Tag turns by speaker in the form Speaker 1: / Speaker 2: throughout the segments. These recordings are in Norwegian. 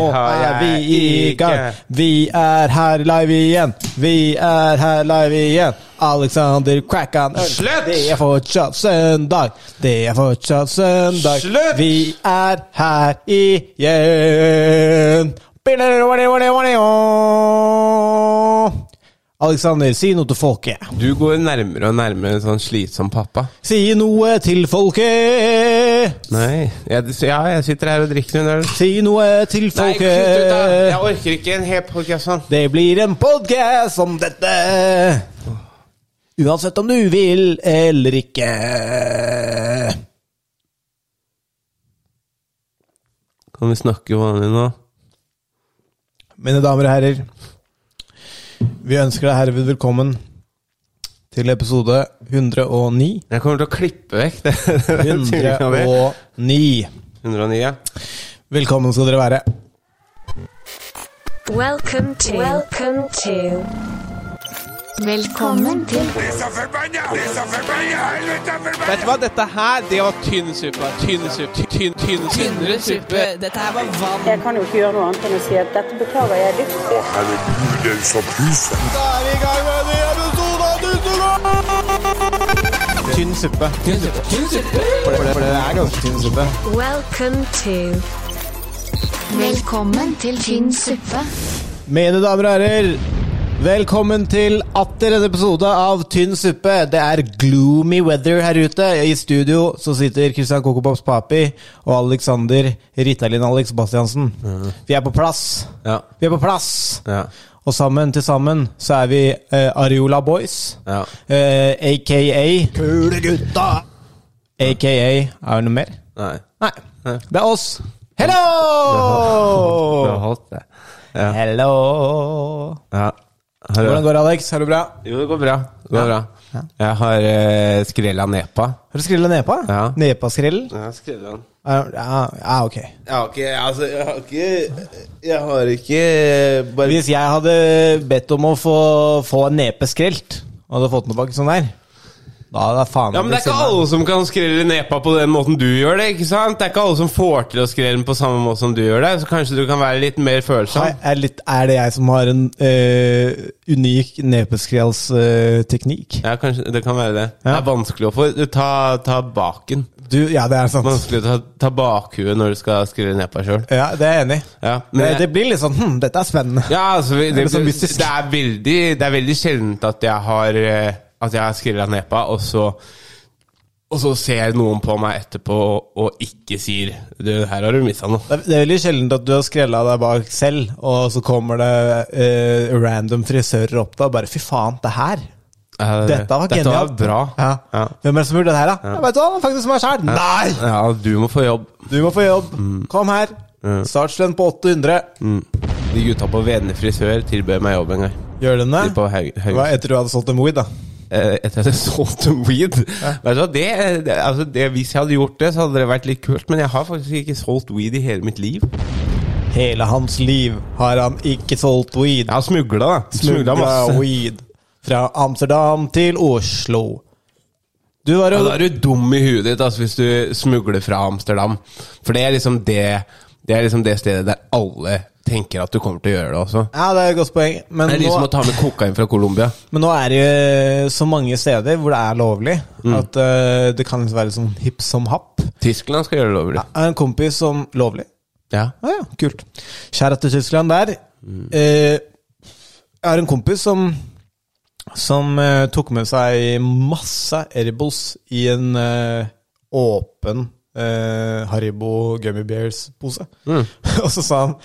Speaker 1: Nå er vi i gang. Vi er her live igjen. Vi er her live igjen. Alexander Krakkan Ørn.
Speaker 2: Slutt!
Speaker 1: Det er fortsatt søndag. Det er fortsatt søndag.
Speaker 2: Slutt!
Speaker 1: Vi er her igjen. Alexander, si noe til folket.
Speaker 2: Du går nærmere og nærmere en sånn slitsom pappa.
Speaker 1: Si noe til folket.
Speaker 2: Nei. Jeg, ja, jeg sitter her og drikker en øl.
Speaker 1: Si noe til
Speaker 2: Nei, kutt ut, da!
Speaker 1: folket.
Speaker 2: Jeg orker ikke en hel podcast sånn.
Speaker 1: Det blir en podcast om dette. Uansett om du vil eller ikke.
Speaker 2: Kan vi snakke vanlig nå?
Speaker 1: Mine damer og herrer, vi ønsker deg herved velkommen til episode 109.
Speaker 2: Jeg kommer til å klippe vekk det. den tingen av det.
Speaker 1: 109.
Speaker 2: 109, ja.
Speaker 1: Velkommen skal dere være.
Speaker 3: Welcome to. Welcome to. Velkommen til.
Speaker 2: Vet du hva, dette her, det var tynn suppe. Tynn suppe. Tynn, tynn, tynnere suppe.
Speaker 4: Dette her var vann.
Speaker 5: Jeg kan jo ikke gjøre noe annet enn å si at dette beklager jeg dypt.
Speaker 6: Å, herregud, den som puser.
Speaker 1: Da er vi i gang med en ny episode av Tusenland! Tynn suppe. For det, for det er ganske tynn suppe.
Speaker 3: Welcome to. Velkommen til tynn suppe.
Speaker 1: Mine damer og herrer, velkommen til atter en episode av Tynn suppe. Det er gloomy weather her ute. I studio så sitter Christian Kokopops Papi og Alexander Ritalin Alex Bastiansen. Vi er på plass.
Speaker 2: Ja.
Speaker 1: Vi er på plass.
Speaker 2: Ja.
Speaker 1: Og sammen til sammen så er vi eh, Ariola Boys,
Speaker 2: Ja.
Speaker 1: eh, aka Kule gutta! Aka Er det noe mer?
Speaker 2: Nei.
Speaker 1: Nei.
Speaker 2: Nei.
Speaker 1: Det er oss. Hello!
Speaker 2: Det har holdt, det. Ja.
Speaker 1: Hello!
Speaker 2: ja. Har du-
Speaker 1: Hvordan går det, Alex? Har du bra?
Speaker 2: Jo, det går bra. Det går bra. Jeg har eh, skrella nepa.
Speaker 1: Har du skrilla nepa?
Speaker 2: Ja.
Speaker 1: Nepaskrell?
Speaker 2: Jeg har skrevet den.
Speaker 1: Ja, ja, ja, ok.
Speaker 2: Jeg har ikke Altså, jeg har ikke Jeg har ikke bare
Speaker 1: Hvis jeg hadde bedt om å få, få en nepe skrelt, og hadde fått den tilbake sånn der, da hadde jeg faen
Speaker 2: Ja, men det er ikke alle som kan skrelle nepa på den måten du gjør det, ikke sant? Det er ikke alle som får til å skrelle den på samme måte som du gjør det, så kanskje du kan være litt mer følsom?
Speaker 1: Er, litt, er det jeg som har en eh, unik nepeskrellsteknikk?
Speaker 2: Ja, kanskje det kan være det. Det
Speaker 1: Ja.
Speaker 2: er vanskelig å få Ta, ta baken.
Speaker 1: Du, ja, det er sant.
Speaker 2: Vanskelig å ta, ta bakhuet når du skal skrelle nepa sjøl.
Speaker 1: Ja, det er jeg enig i.
Speaker 2: Ja,
Speaker 1: Det,
Speaker 2: men
Speaker 1: det blir litt sånn hm, dette er spennende.
Speaker 2: ja, altså, vi- det,
Speaker 1: litt sånn mystisk.
Speaker 2: det er veldig Det er veldig sjeldent at jeg har eh, At jeg har skrella nepa, og så og så ser noen på meg etterpå og, og ikke sier du, 'Her har du mista noe'.
Speaker 1: Det er- det er veldig sjelden at du har skrella deg bak selv, og så kommer det eh, random frisører opp da og bare 'fy faen, det her'.
Speaker 2: Eh,
Speaker 1: Dette var
Speaker 2: dette
Speaker 1: genialt.
Speaker 2: var bra.
Speaker 1: Ja.
Speaker 2: Ja.
Speaker 1: Hvem er det som gjorde det her, da? Jeg vet hva, det er faktisk meg sjæl. Nei!
Speaker 2: Ja, Mm. du må få jobb.
Speaker 1: Du må få jobb. Kom her. Startslønn på 800.
Speaker 2: De gutta på Vedne frisør tilbød meg jobb en gang.
Speaker 1: Gjør den det?
Speaker 2: De på Haug- Haug-
Speaker 1: Hva etter du hadde solgt en weed, da?
Speaker 2: Eh, Etter at jeg solgte weed. Vet du hva, det, det, altså det, Hvis jeg hadde gjort det, så hadde det vært litt kult, men jeg har faktisk ikke solgt weed i hele mitt liv.
Speaker 1: Hele hans liv har han ikke solgt weed.
Speaker 2: Jeg har smugla, da. Smugla masse.
Speaker 1: weed fra Amsterdam til Oslo. Du var
Speaker 2: Ja,
Speaker 1: jo
Speaker 2: da er du dum i huet ditt altså, hvis du smugler fra Amsterdam. For det er liksom det Det er liksom det stedet der alle tenker at du kommer til å gjøre det også.
Speaker 1: Ja, det er et godt poeng. Men
Speaker 2: Det er liksom
Speaker 1: nå,
Speaker 2: å ta med kokain fra Colombia.
Speaker 1: men nå er det jo eh, så mange steder hvor det er lovlig,
Speaker 2: Mm.
Speaker 1: at eh, det kan liksom være sånn hipp som happ.
Speaker 2: Tyskland skal gjøre det lovlig.
Speaker 1: Jeg har en kompis som Lovlig.
Speaker 2: Ja.
Speaker 1: Ja, Ah, ja, kult. Kjære til Tyskland der. Eh, jeg har en kompis som som eh, tok med seg masse edibles i en eh, åpen eh, Haribo Gummy Bears-pose. og så sa han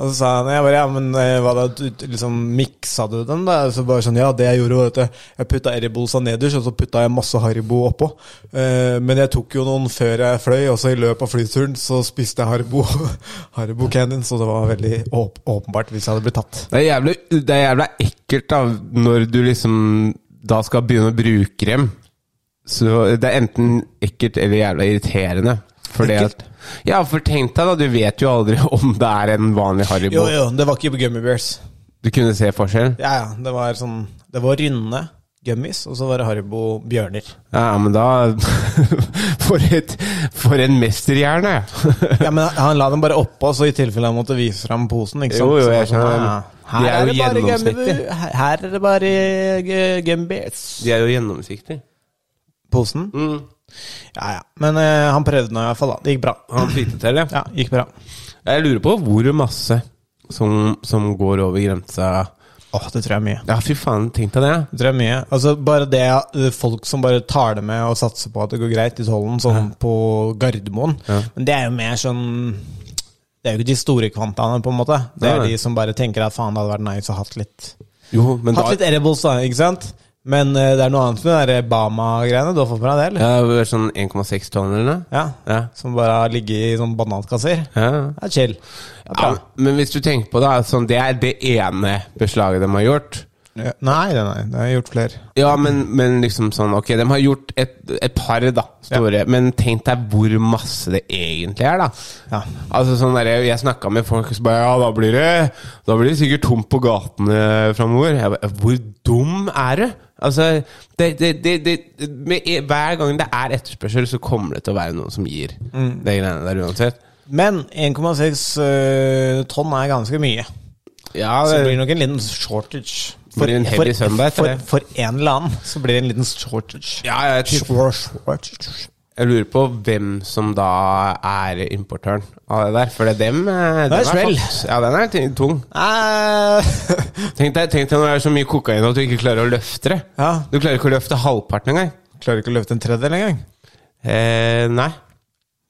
Speaker 1: og så sa han, jeg bare, ja, men eh, hva da, du, liksom miksa du den da? Så bare sånn, ja, det jeg gjorde var at jeg, jeg putta ediblesa nederst, og så putta jeg masse Haribo oppå. Eh, men jeg tok jo noen før jeg fløy, og så i løpet av flyturen så spiste jeg Haribo, Haribo Canyon, så det var veldig åp åpenbart hvis jeg hadde blitt tatt.
Speaker 2: Det er jævlig, det er jævla ekkelt da når du liksom da skal begynne å bruke dem. Så det er enten ekkelt eller jævla irriterende. Fordi at, ja, for tenk deg da, du vet jo aldri om det er en vanlig Haribo.
Speaker 1: Jo, jo, det var ikke Gummy Bears.
Speaker 2: Du kunne se forskjell.
Speaker 1: Ja, ja, det var sånn Det var rynne. gummies, og så var det Haribo bjørner.
Speaker 2: Ja, men da For, et, for en mesterhjerne!
Speaker 1: Ja, men Han la dem bare oppå, så i tilfelle han måtte vise fram posen. ikke sant?
Speaker 2: Jo, jo,
Speaker 1: Så det
Speaker 2: jeg
Speaker 1: var sånn,
Speaker 2: skjønner.
Speaker 1: ja,
Speaker 2: De
Speaker 1: Her
Speaker 2: er jo
Speaker 1: er, det bare
Speaker 2: gjennomsiktige.
Speaker 1: gummi- her- her er det bare gu- gummies.
Speaker 2: De er jo gjennomsiktige.
Speaker 1: Posen?
Speaker 2: Mm.
Speaker 1: Ja, ja. Men eh, han prøvde nå i hvert fall, da. Det gikk bra.
Speaker 2: Han fikk det til, ja.
Speaker 1: Ja, gikk bra.
Speaker 2: Jeg lurer på hvor masse som, som går over grensa
Speaker 1: Åh, det tror jeg er mye.
Speaker 2: Ja, fy faen, tenk deg det.
Speaker 1: Det tror jeg er mye. Altså, bare det eh, folk som bare tar det med og satser på at det går greit i tollen, sånn på Gardermoen. Men det er jo mer sånn Det er jo ikke de store kvantaene, på en måte. Det er
Speaker 2: Nei.
Speaker 1: de som bare tenker at faen, det hadde vært nice å hatt litt
Speaker 2: Jo, men da
Speaker 1: Hatt litt edibles, da, ikke sant? Men eh, det er noe annet med de der Bama-greiene. Du har fått med deg det, eller?
Speaker 2: ja, det var Sånn 1,6 tonn eller noe?
Speaker 1: Ja.
Speaker 2: Ja.
Speaker 1: Som bare har ligget i sånn banankasser.
Speaker 2: Ja.
Speaker 1: Det er chill. Det er
Speaker 2: ja.
Speaker 1: bra.
Speaker 2: Men hvis du tenker på det, sånn, det er det ene beslaget de har gjort.
Speaker 1: Ja. Nei, nei, nei. Det har jeg gjort flere.
Speaker 2: Ja, men, men liksom sånn Ok, de har gjort et, et par, da. Store. Men tenk deg hvor masse det egentlig er, da.
Speaker 1: Ja.
Speaker 2: Altså sånn der, Jeg snakka med folk som bare Ja, da blir det Da blir det sikkert tomt på gatene framover. Jeg bare, Hvor dum er du? Altså det, det, det, det, med, Hver gang det er etterspørsel, så kommer det til å være noen som gir de greiene der uansett.
Speaker 1: Men 1,6 eh, tonn er ganske mye.
Speaker 2: Ja,
Speaker 1: Så
Speaker 2: det,
Speaker 1: det blir nok en liten shortage.
Speaker 2: Blir det en heavy
Speaker 1: for,
Speaker 2: søndag,
Speaker 1: for,
Speaker 2: eller?
Speaker 1: for en eller annen så blir det en liten shortage.
Speaker 2: ja, jeg, tipper-
Speaker 1: Shor- shortage.
Speaker 2: jeg lurer på hvem som da er importøren av det der. For det er dem eh, den
Speaker 1: smell.
Speaker 2: fått- Ja, den er ty- tung.
Speaker 1: Eh,
Speaker 2: Tenk deg, tenk deg når det er så mye kokain at du ikke klarer å løfte det.
Speaker 1: Ja.
Speaker 2: Du klarer ikke å løfte halvparten engang.
Speaker 1: Klarer ikke å løfte en tredjedel engang.
Speaker 2: Eh, nei.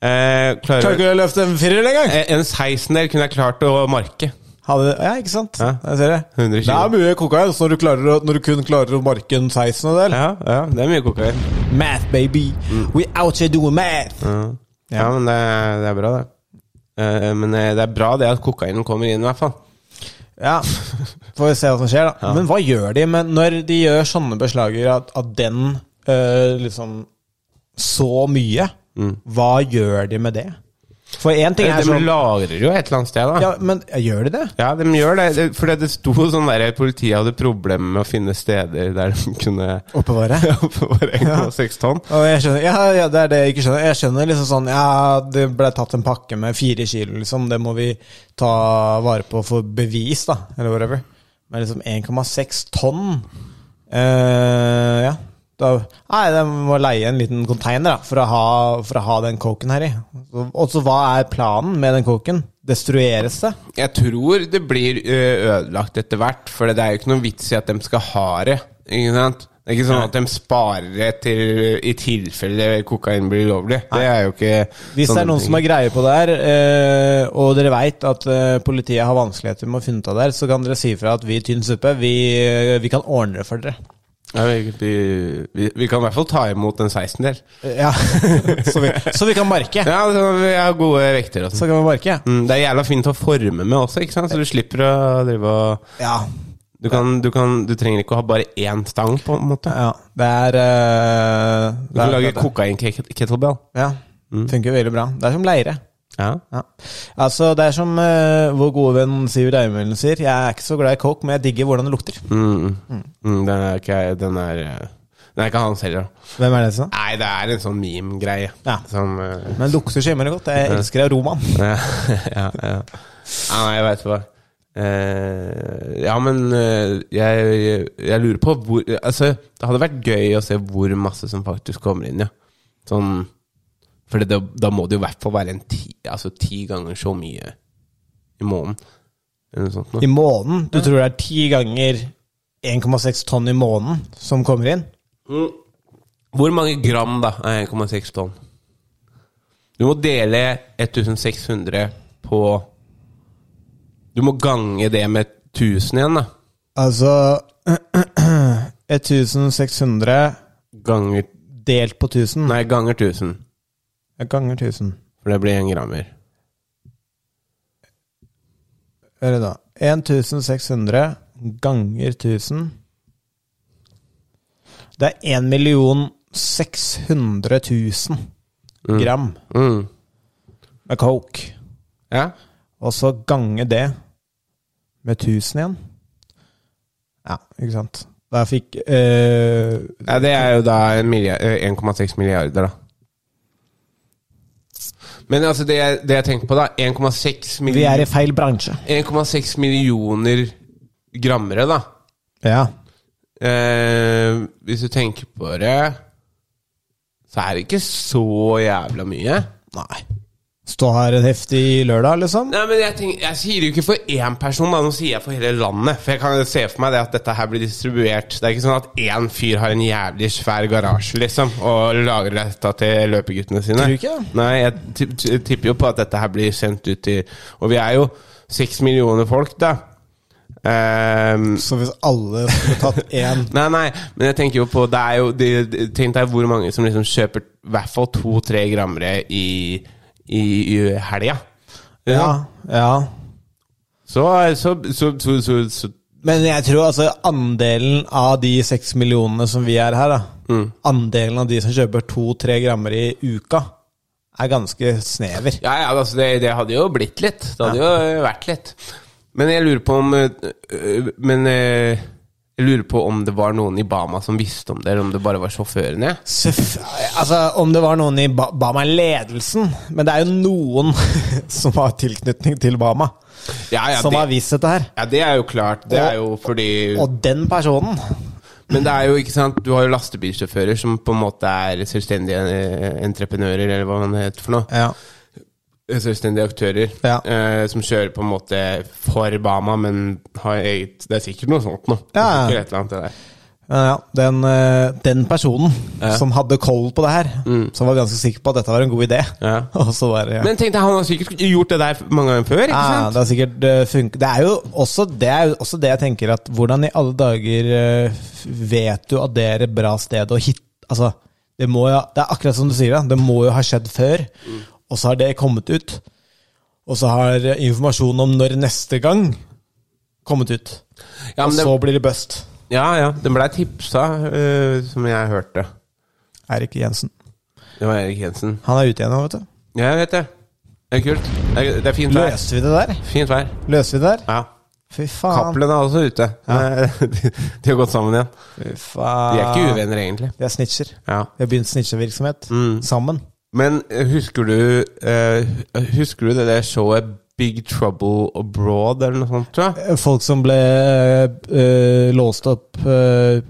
Speaker 2: Eh,
Speaker 1: Klarer
Speaker 2: klarer
Speaker 1: ikke å løfte en firer engang!
Speaker 2: eh, En 16 der kunne jeg klart å marke.
Speaker 1: Hadde- Ja, ikke sant?
Speaker 2: Ja.
Speaker 1: Jeg ser det.
Speaker 2: 100
Speaker 1: Det er
Speaker 2: kilo.
Speaker 1: mye kokain når du, klarer å, når du kun klarer å marke en 16-del.
Speaker 2: Ja, Mm. ja, det er mye kokain.
Speaker 1: Math, baby! We out here doing math!
Speaker 2: Ja, ja men det, det er bra, det. Eh, men eh, det er bra det at kokainen kommer inn, i hvert fall.
Speaker 1: Ja, får vi se hva som skjer da Men hva gjør de med når de gjør sånne beslager At, at den øh, liksom så mye Hva gjør de med det? For en ting er
Speaker 2: de
Speaker 1: sånn
Speaker 2: lagrer jo et eller annet sted, da.
Speaker 1: ja, Men ja, gjør de det?
Speaker 2: Ja, de gjør det. det for det sto sånn der politiet hadde problemer med å finne steder der de kunne
Speaker 1: Oppbevare
Speaker 2: oppbevare 1,6 tonn.
Speaker 1: Og jeg skjønner, ja, ja, det er det jeg ikke skjønner Jeg skjønner liksom sånn, ja, det ble tatt en pakke med fire kilo liksom Det må vi ta vare på for bevis da Eller whatever Men liksom 1,6 tonn eh, Ja da, Nei, de må leie en liten container da For å ha, for å ha den koken her i Og- Og så hva er planen med den koken? Destrueres det?
Speaker 2: Jeg tror det blir ø, ødelagt etter hvert, for det er jo ikke noen vits i at de skal ha det. Ikke sant? Det er ikke sånn at de sparer det til, i tilfelle kokain blir ulovlig. Det er jo ikke
Speaker 1: Hvis det er noen som har greie på det her, eh, og dere veit at eh, politiet har vanskeligheter med å finne ut av det her, så kan dere si ifra at vi i Tynn suppe, vi, eh, vi kan ordne det for dere.
Speaker 2: ja, vi, vi, vi, vi kan i hvert fall ta imot en 16-del.
Speaker 1: Eh, Ja, Så vi, så vi kan marke.
Speaker 2: Ja, altså, vi har gode vekter. og
Speaker 1: Så
Speaker 2: sånn.
Speaker 1: kan vi marke.
Speaker 2: Mm, Det er jævla fint å forme med også, ikke sant? så du slipper å drive og
Speaker 1: Ja.
Speaker 2: Du, kan, du, kan, du trenger ikke å ha bare én stang, på en måte.
Speaker 1: ja. Det er eh,
Speaker 2: Du kan
Speaker 1: det er-
Speaker 2: lage Mm.
Speaker 1: det-
Speaker 2: kokain-kettlebell.
Speaker 1: Ja. Funker veldig bra. Det er som leire.
Speaker 2: Ja.
Speaker 1: Ja. Altså, det er som eh, vår gode venn Sivert Eimundsen sier, jeg er ikke så glad i coke, men jeg digger hvordan det lukter.
Speaker 2: Mm. Mm, den, er ikke, den, er, eh, den er ikke hans heller. da.
Speaker 1: Hvem er det som?
Speaker 2: Nei, det er en sånn meme-greie.
Speaker 1: Ja.
Speaker 2: Som eh,
Speaker 1: Men det lukter så innmari godt. Jeg elsker aromaen.
Speaker 2: ja, ja, ja. ja, nei, jeg veit hva. Eh, ja, men eh, jeg, jeg, jeg lurer på hvor Altså, det hadde vært gøy å se hvor masse som faktisk kommer inn, ja. Sånn For det, da må det jo i hvert fall være en ti, altså, ti ganger så mye i måneden. Eller noe sånt.
Speaker 1: I
Speaker 2: Noe.
Speaker 1: måneden? Du tror det er ti ganger 1,6 tonn i måneden som kommer inn?
Speaker 2: Hvor mange gram, da, er 1,6 tonn? Du må dele 1600 på Du må gange det med 1000 igjen, da.
Speaker 1: Altså 1600
Speaker 2: Ganger
Speaker 1: delt på 1000
Speaker 2: Nei, ganger 1000.
Speaker 1: ganger 1000.
Speaker 2: For det blir én grammer.
Speaker 1: Hør da. 1600 ganger 1000 Det er 1 600 000 gram
Speaker 2: Mm.
Speaker 1: med coke.
Speaker 2: Ja?
Speaker 1: Og så gange det med 1000 igjen. Ja, ikke sant. Der fikk eh,
Speaker 2: Ja, det er jo da en milliard- eh, 1,6 milliarder, da. Men altså, det jeg, det jeg tenker på, da 1,6
Speaker 1: Vi er
Speaker 2: millioner,
Speaker 1: i feil bransje.
Speaker 2: 1,6 millioner grammere, da.
Speaker 1: Ja.
Speaker 2: Eh, hvis du tenker på det, så er det ikke så jævla mye.
Speaker 1: Nei. Stå her en heftig lørdag, liksom?
Speaker 2: Nei, men jeg, tenker, jeg sier det jo ikke for én person, da. nå sier jeg for hele landet. For jeg kan jo se for meg det at dette her blir distribuert. Det er ikke sånn at én fyr har en jævlig svær garasje liksom og lager dette til løpeguttene sine.
Speaker 1: Tror du ikke?
Speaker 2: Nei, jeg tipp- t- tipper jo på at dette her blir sendt ut til Og vi er jo seks millioner folk, da. Um,
Speaker 1: Så hvis alle skulle tatt én
Speaker 2: Nei, nei, men jeg tenker jo på det er jo, det, det, Tenk deg hvor mange som liksom kjøper i hvert fall to-tre grammere i, i, i helga.
Speaker 1: ja, ja.
Speaker 2: Så, eh, så, så, så, så, så
Speaker 1: Men jeg tror altså andelen av de seks millionene som vi er her, da Andelen av de som kjøper to-tre grammer i uka, er ganske snever.
Speaker 2: Ja, ja, altså det, det hadde jo blitt litt. Det hadde jo vært litt. Men jeg lurer på om øh, øh, Men øh, jeg lurer på om det var noen i Bama som visste om det, eller om det bare var sjåførene.
Speaker 1: Seff- altså, om det var noen i ba Bama-ledelsen Men det er jo noen som har tilknytning til Bama,
Speaker 2: Ja, ja,
Speaker 1: som har
Speaker 2: det,
Speaker 1: vist dette her.
Speaker 2: ja, det er jo klart. Det er jo fordi
Speaker 1: Og den personen
Speaker 2: Men det er jo ikke sant, du har jo lastebilsjåfører som på en måte er selvstendige eh, entreprenører, eller hva man heter for noe.
Speaker 1: Ja.
Speaker 2: Selvstendige aktører
Speaker 1: Ja.
Speaker 2: eh, som kjører på en måte for Bama, men har eget Det er sikkert noe sånt noe.
Speaker 1: Ja, ja.
Speaker 2: Det er sikkert et eller annet, det der.
Speaker 1: Ja, ja. den, eh, den personen som hadde koll på det her, som var ganske sikker på at dette var en god idé.
Speaker 2: Mm. Ja.
Speaker 1: Og så bare, ja.
Speaker 2: Men tenk deg, han har sikkert gjort det der mange ganger før, ikke
Speaker 1: Ja,
Speaker 2: sant?
Speaker 1: det har sikkert eh, funket. Det er jo også det, er jo også det jeg tenker at Hvordan i alle dager eh, f- vet du at det er et bra sted å hitte Altså, det må jo Det er akkurat som du sier, da. Det må jo ha skjedd før. Og så har det kommet ut. Og så har eh, informasjonen om når neste gang kommet ut.
Speaker 2: Ja,
Speaker 1: Og
Speaker 2: men det,
Speaker 1: så blir det bust.
Speaker 2: ja, ja, den blei tipsa, eh, som jeg hørte.
Speaker 1: Eirik Jensen.
Speaker 2: Det var Erik Jensen.
Speaker 1: Han er ute igjen nå, vet du.
Speaker 2: Ja, jeg vet det. Det er kult. Det er, det er fint vær.
Speaker 1: Løser vi det der?
Speaker 2: Fint vær.
Speaker 1: Løser vi det der?
Speaker 2: Ja.
Speaker 1: Fy faen.
Speaker 2: Cappelen er også ute. De, de har gått sammen igjen.
Speaker 1: Fy
Speaker 2: De
Speaker 1: faen.
Speaker 2: er ikke uvenner, Mm. egentlig.
Speaker 1: Vi er snitcher.
Speaker 2: Ja.
Speaker 1: Vi har begynt snitchevirksomhet. Sammen.
Speaker 2: Men eh, husker du eh, Husker du det der showet Big Trouble Abroad, eller noe sånt? tror jeg?
Speaker 1: Folk som ble eh, låst opp eh,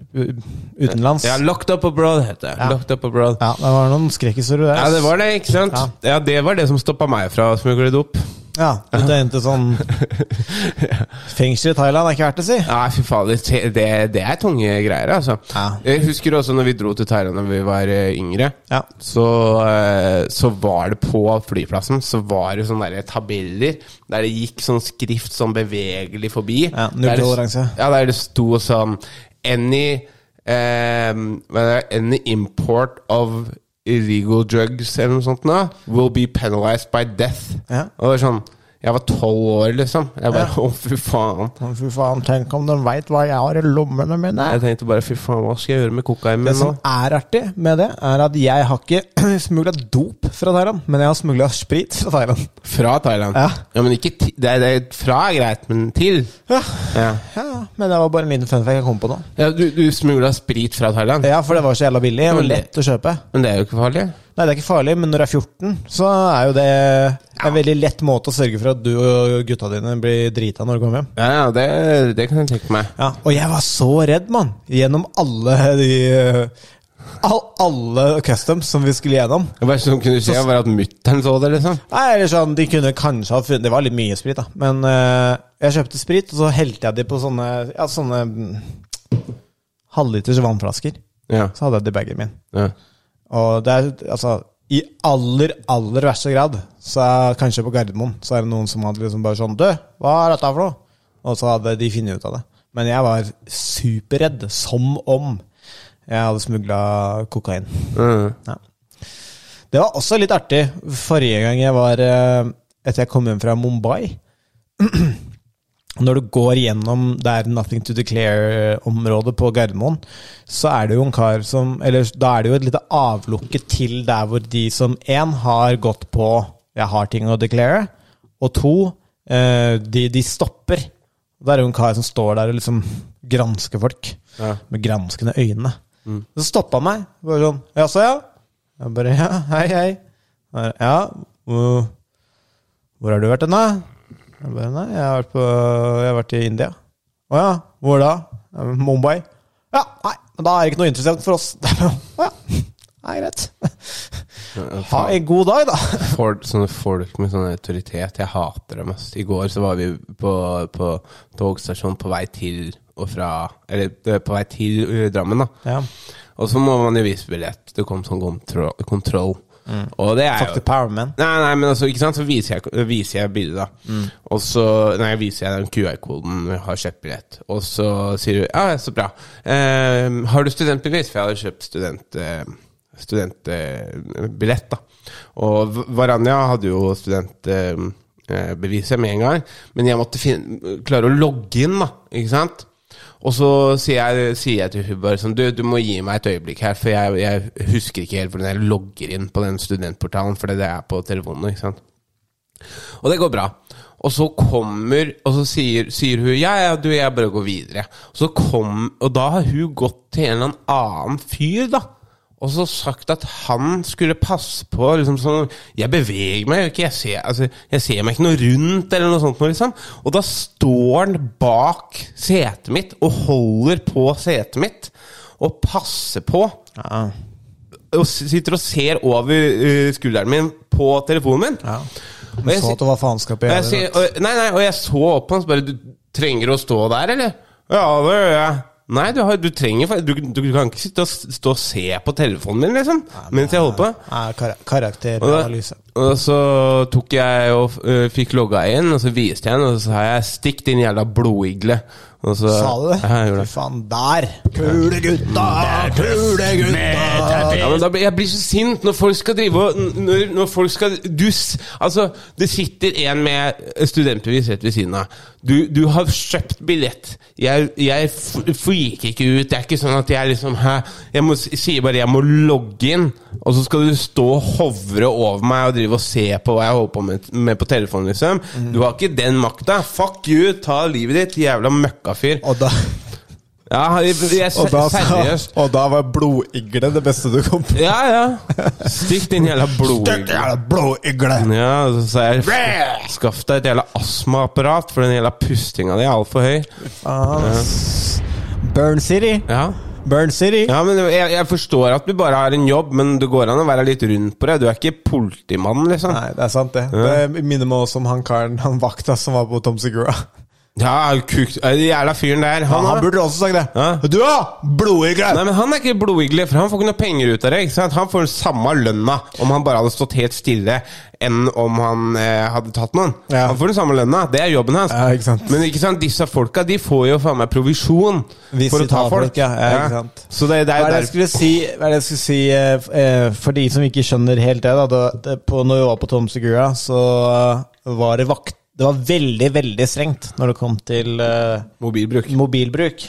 Speaker 1: utenlands.
Speaker 2: Ja,
Speaker 1: Ja,
Speaker 2: Locked Up Abroad heter det. Locked Up Abroad. Ja.
Speaker 1: det var noen skrekkhistorier der.
Speaker 2: det var det, ikke sant?
Speaker 1: Ja.
Speaker 2: Ja, det var det som stoppa meg fra å smugle dop.
Speaker 1: Ja, ut og hente sånn Fengsel i Thailand er ikke verdt å si.
Speaker 2: Nei, fy fader. te- Det, det er tunge greier, altså.
Speaker 1: Ja.
Speaker 2: Jeg husker også når vi dro til Thailand da vi var eh, yngre.
Speaker 1: Ja.
Speaker 2: Så, eh, så var det på flyplassen Så var det sånne der tabeller der det gikk sånn skrift sånn bevegelig forbi.
Speaker 1: Ja, null
Speaker 2: Der det-
Speaker 1: toleranse.
Speaker 2: Ja, der det sto sånn Any, eh, hva er det? any import of illegal drugs eller noe sånt nå, will be penalized by death.
Speaker 1: Ja.
Speaker 2: Og det var sånn Jeg var tolv år, liksom. Jeg bare, Å, fy faen.
Speaker 1: Men Fy faen, tenk om de veit hva jeg har i lommene mine.
Speaker 2: Jeg tenkte bare fy faen, hva skal jeg gjøre med kokainen
Speaker 1: Det
Speaker 2: min nå?
Speaker 1: som er artig med det, er at jeg har ikke smugla dop fra Thailand, men jeg har smugla sprit fra Thailand.
Speaker 2: Fra Thailand?
Speaker 1: Ja.
Speaker 2: men ikke ti det er, det er fra er greit, men til?
Speaker 1: Ja,
Speaker 2: Ja.
Speaker 1: ja, ja. Men det var bare en liten funfact jeg kom på nå.
Speaker 2: ja du du smugla sprit fra Thailand?
Speaker 1: Ja, for det var så jævla billig og
Speaker 2: men det-
Speaker 1: lett å kjøpe.
Speaker 2: Men det er jo ikke farlig.
Speaker 1: Nei, det er ikke farlig, men når du er 14, så er jo det en veldig lett måte å sørge for at du og gutta dine blir drita når du kommer hjem.
Speaker 2: Ja, ja, det, det kan jeg tenke meg.
Speaker 1: Ja, Og jeg var så redd, mann! Gjennom alle de all, Alle customs som vi skulle gjennom.
Speaker 2: Det verste som kunne skje, var at mutter'n så det, liksom.
Speaker 1: Nei, eller sånn, De kunne kanskje ha funnet Det var litt mye sprit, da. Men eh, jeg kjøpte sprit, og så helte jeg de på sånne Ja, sånne mm, halvliters vannflasker.
Speaker 2: Ja.
Speaker 1: Så hadde jeg det i bagen min.
Speaker 2: ja.
Speaker 1: Og det er, altså, i aller, aller verste grad, så er, kanskje på Gardermoen, så er det noen som hadde liksom bare sånn Du, hva er dette for noe? Og så hadde de funnet ut av det. Men jeg var superredd, som om jeg hadde smugla kokain.
Speaker 2: Mm.
Speaker 1: Ja. Det var også litt artig. Forrige gang jeg var eh, Etter jeg kom hjem fra Mumbai Når du går gjennom det er Nothing to Declare-området på Gardermoen, så er det jo en kar som Eller da er det jo et lite avlukke til der hvor de som én har gått på 'jeg har ting å declare', og to eh, de, de stopper Og der er jo en kar som står der og liksom gransker folk
Speaker 2: Ja.
Speaker 1: med granskende øyne. Så stoppa han meg. Bare sånn Jaså, ja? Jeg bare ja, hei, hei. Han bare, Ja, hvor, hvor har du vært hen, da? Jeg bare nei, jeg har vært, på, jeg har vært i India. Å ja, hvor da? «Ja, men Mumbai. Ja, nei, men da er det ikke noe interessant for oss. Å ja, nei, greit. Ha en god dag, da.
Speaker 2: folk, sånne folk med sånn autoritet. Jeg hater dem. Ass. I går så var vi på, på togstasjonen på vei til og fra Eller eh, på vei til eh, Drammen, da.
Speaker 1: Ja.
Speaker 2: Og så må man jo vise billett. Det kom sånn kontroll. kontroll. Og det er
Speaker 1: Fuck the
Speaker 2: jo
Speaker 1: power, man.
Speaker 2: Nei, nei, men altså, ikke sant, så viser jeg, viser jeg bildet, da. Og så Nei, viser jeg den QR-koden når jeg har kjøpt billett. Og så sier du Ja, så bra. Eh, har du studentbevis? For jeg hadde kjøpt student... Eh, Studentbillett, da. Og V- Varanja hadde jo studentbeviset med en gang, men jeg måtte finne, klare å logge inn, da. Ikke sant? Og så sier jeg, sier jeg til hun bare sånn Du, du må gi meg et øyeblikk her, for jeg, jeg husker ikke helt hvordan jeg logger inn på den studentportalen, for det er på telefonen. ikke sant? Og det går bra. Og så kommer Og så sier, sier hun Ja, ja, du, jeg bare går videre. Og, så kom, og da har hun gått til en eller annen annen fyr, da. Og så sagt at han skulle passe på liksom sånn, Jeg beveger meg jo ikke, jeg ser, altså, jeg ser meg ikke noe rundt eller noe sånt. noe, Liksom. Og da står han bak setet mitt og holder på setet mitt og passer på
Speaker 1: Ja.
Speaker 2: og s- sitter og ser over eh, skulderen min på telefonen min.
Speaker 1: Ja.
Speaker 2: Og jeg
Speaker 1: Så
Speaker 2: si-
Speaker 1: at det var faenskap i
Speaker 2: og jeg sier-
Speaker 1: øret.
Speaker 2: og, nei, nei, og jeg så opp på han og bare Du trenger å stå der, eller? Ja, det gjør jeg. Nei, du, har, du trenger fa- du, du kan ikke sitte og s- stå og se på telefonen din, liksom. mens jeg holder på.
Speaker 1: Ja, kar-
Speaker 2: Og,
Speaker 1: Karakteranalyse.
Speaker 2: da, og så tok jeg og eh, fikk logga inn, og så viste jeg den, og så sa jeg 'stikk din jævla blodigle'. Og så,
Speaker 1: Sa du det?
Speaker 2: Ja, jeg gjorde det.
Speaker 1: Fy faen, der! Kule gutta! Kule gutta!
Speaker 2: Ja, men da blir, jeg blir så sint når folk skal drive og n- når, når folk skal du, s- Altså, det sitter en med studentbevis rett ved siden av. Du, du har kjøpt billett. Jeg, jeg f- freaker ikke ut. Det er ikke sånn at jeg liksom hæ, Jeg må, s- sier bare jeg må logge inn, og så skal du stå og hovre over meg og drive og se på hva jeg holder på med, med på telefonen, liksom.
Speaker 1: Mhm.
Speaker 2: Du har ikke den makta. Fuck you! Ta livet ditt, jævla møkkafyr.
Speaker 1: Og da,
Speaker 2: Ja, jeg, jeg,
Speaker 1: og, da sa,
Speaker 2: seriøst.
Speaker 1: og da var blodigle det beste du kom på.
Speaker 2: Ja, ja. Stikk din jævla
Speaker 1: Støkk
Speaker 2: blodigle.
Speaker 1: jævla blodigle!
Speaker 2: Ja, og så sa jeg Skaff deg et jævla astmaapparat, for den jævla pustinga di er altfor høy.
Speaker 1: Ass. Burn City!
Speaker 2: Ja.
Speaker 1: Burn City!
Speaker 2: ja, men jeg, jeg forstår at du bare har en jobb, men det går an å være litt rundt på det. Du er ikke politimann, liksom.
Speaker 1: Nei, det er sant, det. Det minner meg også om han karen, han vakta som var på Tom Segura.
Speaker 2: Ja, kuk, den jævla fyren der.
Speaker 1: Han,
Speaker 2: Han, er-
Speaker 1: burde også sagt det.
Speaker 2: Ja.
Speaker 1: Du, da! Blodigle!
Speaker 2: Nei, men Han er ikke blodigle, for han får ikke noe penger ut av det. ikke sant? Han får samme lønna om han bare hadde stått helt stille, enn om han eh, hadde tatt noen.
Speaker 1: Ja.
Speaker 2: Han får den samme lønna, det er jobben hans.
Speaker 1: Ja, ikke sant.
Speaker 2: Men ikke sant, disse folka de får jo faen meg provisjon
Speaker 1: Hvis
Speaker 2: for
Speaker 1: de
Speaker 2: å ta
Speaker 1: tar
Speaker 2: folk.
Speaker 1: folk, ja. Ja, ikke sant.
Speaker 2: Så det, det
Speaker 1: Hva
Speaker 2: er
Speaker 1: er
Speaker 2: jo
Speaker 1: det jeg
Speaker 2: der
Speaker 1: skulle si, hva er det jeg skulle si eh, f- eh, for de som ikke skjønner helt det, da, da det, på, Når vi var på Tom Segura, så eh, var det vakt Det var veldig, veldig strengt når det kom til eh,
Speaker 2: mobilbruk.
Speaker 1: mobilbruk.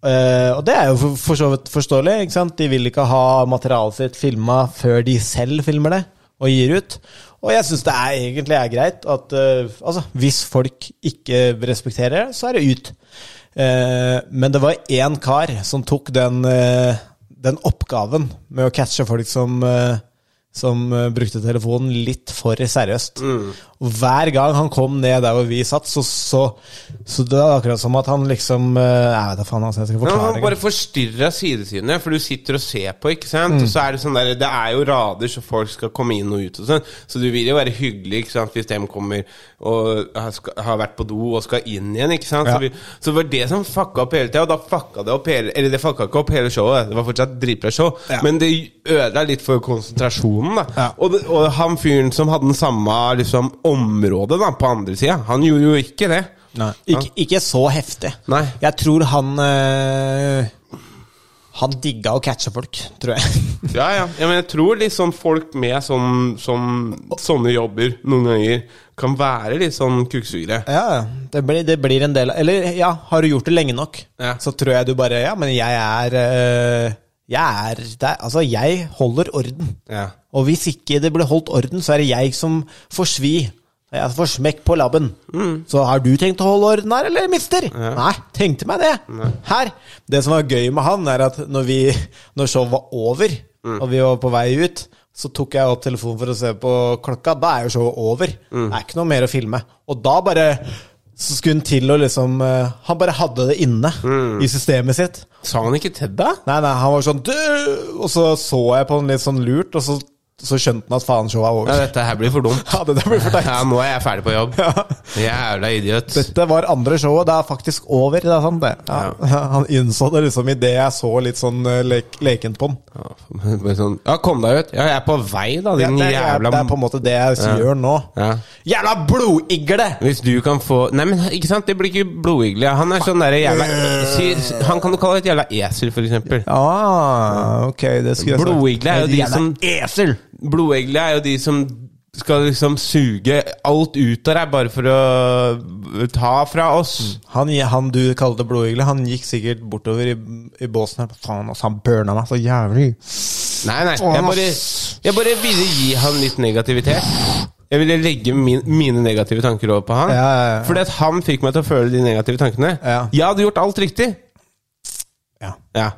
Speaker 1: Eh, og det er jo for, for så vidt forståelig. ikke sant? De vil ikke ha materialet sitt filma før de selv filmer det og gir ut. Og jeg syns det er, egentlig er greit at eh, altså, hvis folk ikke respekterer det, så er det ut. Eh, men det var én kar som tok den, eh, den oppgaven med å catche folk som eh, som eh, brukte telefonen litt for seriøst.
Speaker 2: Mm.
Speaker 1: Og Hver gang han kom ned der hvor vi satt, så, så, så det var akkurat som at han liksom eh, Jeg vet da faen, altså, jeg skal
Speaker 2: Ja,
Speaker 1: forklare
Speaker 2: han
Speaker 1: det.
Speaker 2: bare forstyrra sidesidene, for du sitter og ser på, ikke
Speaker 1: Mm.
Speaker 2: sant. Og så er det sånn der, det er jo rader så folk skal komme inn og ut og sånn, så du vil jo være hyggelig ikke sant, hvis dem kommer og har skal- har vært på do og skal inn igjen, ikke sant.
Speaker 1: Ja.
Speaker 2: Så, vi, så det var det som fucka opp hele tida, og da fucka det opp hele Eller det fucka ikke opp hele showet, det var fortsatt dritbra show,
Speaker 1: Ja.
Speaker 2: men det ødela litt for konsentrasjonen, da.
Speaker 1: Ja.
Speaker 2: Og, det- og han fyren som hadde den samme liksom, området da, på andre sida, han gjorde jo ikke det.
Speaker 1: Nei. Ikke, ikke så heftig.
Speaker 2: Nei.
Speaker 1: Jeg tror han eh, Han digga å catche folk, tror jeg.
Speaker 2: Ja, ja. ja men jeg tror liksom folk med sånn, sånn, sånne jobber noen ganger kan være litt sånn kukksugere.
Speaker 1: ja, ja. det blir, det blir en del av Eller ja, har du gjort det lenge nok,
Speaker 2: Ja.
Speaker 1: så tror jeg du bare Ja, men jeg er eh, Jeg er der. Altså, jeg holder orden.
Speaker 2: Ja.
Speaker 1: Og hvis ikke det blir holdt orden, så er det jeg som får svi Jeg får smekk på labben. Så har du tenkt å holde orden her, eller mister? Nei, tenkte meg det. Her. Det som var gøy med han, er at når, vi, når showet var over, og vi var på vei ut, så tok jeg opp telefonen for å se på klokka. Da er jo showet over. Det er ikke noe mer å filme. Og da bare så skulle han til å liksom eh, Han bare hadde det inne i systemet sitt.
Speaker 2: Sa han ikke til deg?
Speaker 1: Nei, nei, han var sånn du! Og så så jeg på han litt sånn lurt, og så, så skjønte han at faen, showet er
Speaker 2: Ja,
Speaker 1: over.
Speaker 2: dette her blir for dumt.
Speaker 1: Ja, det der blir for teit.
Speaker 2: Ja, nå er jeg ferdig på jobb. Jævla idiot.
Speaker 1: Dette var andre showet, det er faktisk over. Det er sant, det. Ja. Han innså det liksom idet jeg så litt sånn eh, lek lekent på han.
Speaker 2: Ja, bare sånn, ja, kom deg ut. Ja, jeg er på vei, da,
Speaker 1: Det,
Speaker 2: din
Speaker 1: det, er-
Speaker 2: jævla
Speaker 1: det er på en måte det jeg gjør nå.
Speaker 2: Ja.
Speaker 1: Jævla blodigle!
Speaker 2: Hvis du kan få Nei, men ikke sant, det blir ikke blodigle. Han er sånn derre jævla si- Han kan du kalle et jævla esel, for eksempel.
Speaker 1: Ah, ok, det skulle jeg sagt.
Speaker 2: Blodigle er jo de
Speaker 1: Jævla
Speaker 2: som
Speaker 1: Esel!
Speaker 2: Blodegle er jo de som skal liksom suge alt ut av deg bare for å ta fra oss.
Speaker 1: Han, han du kalte blodigle, han gikk sikkert bortover i, i båsen her. Faen, altså, han burna meg så jævlig.
Speaker 2: Nei, nei. Jeg bare, jeg bare ville gi han litt negativitet. Jeg ville legge min, mine negative tanker over på han.
Speaker 1: Ja, ja, ja.
Speaker 2: Fordi at han fikk meg til å føle de negative tankene.
Speaker 1: Ja.
Speaker 2: Jeg hadde gjort alt riktig.
Speaker 1: Ja.
Speaker 2: Ja.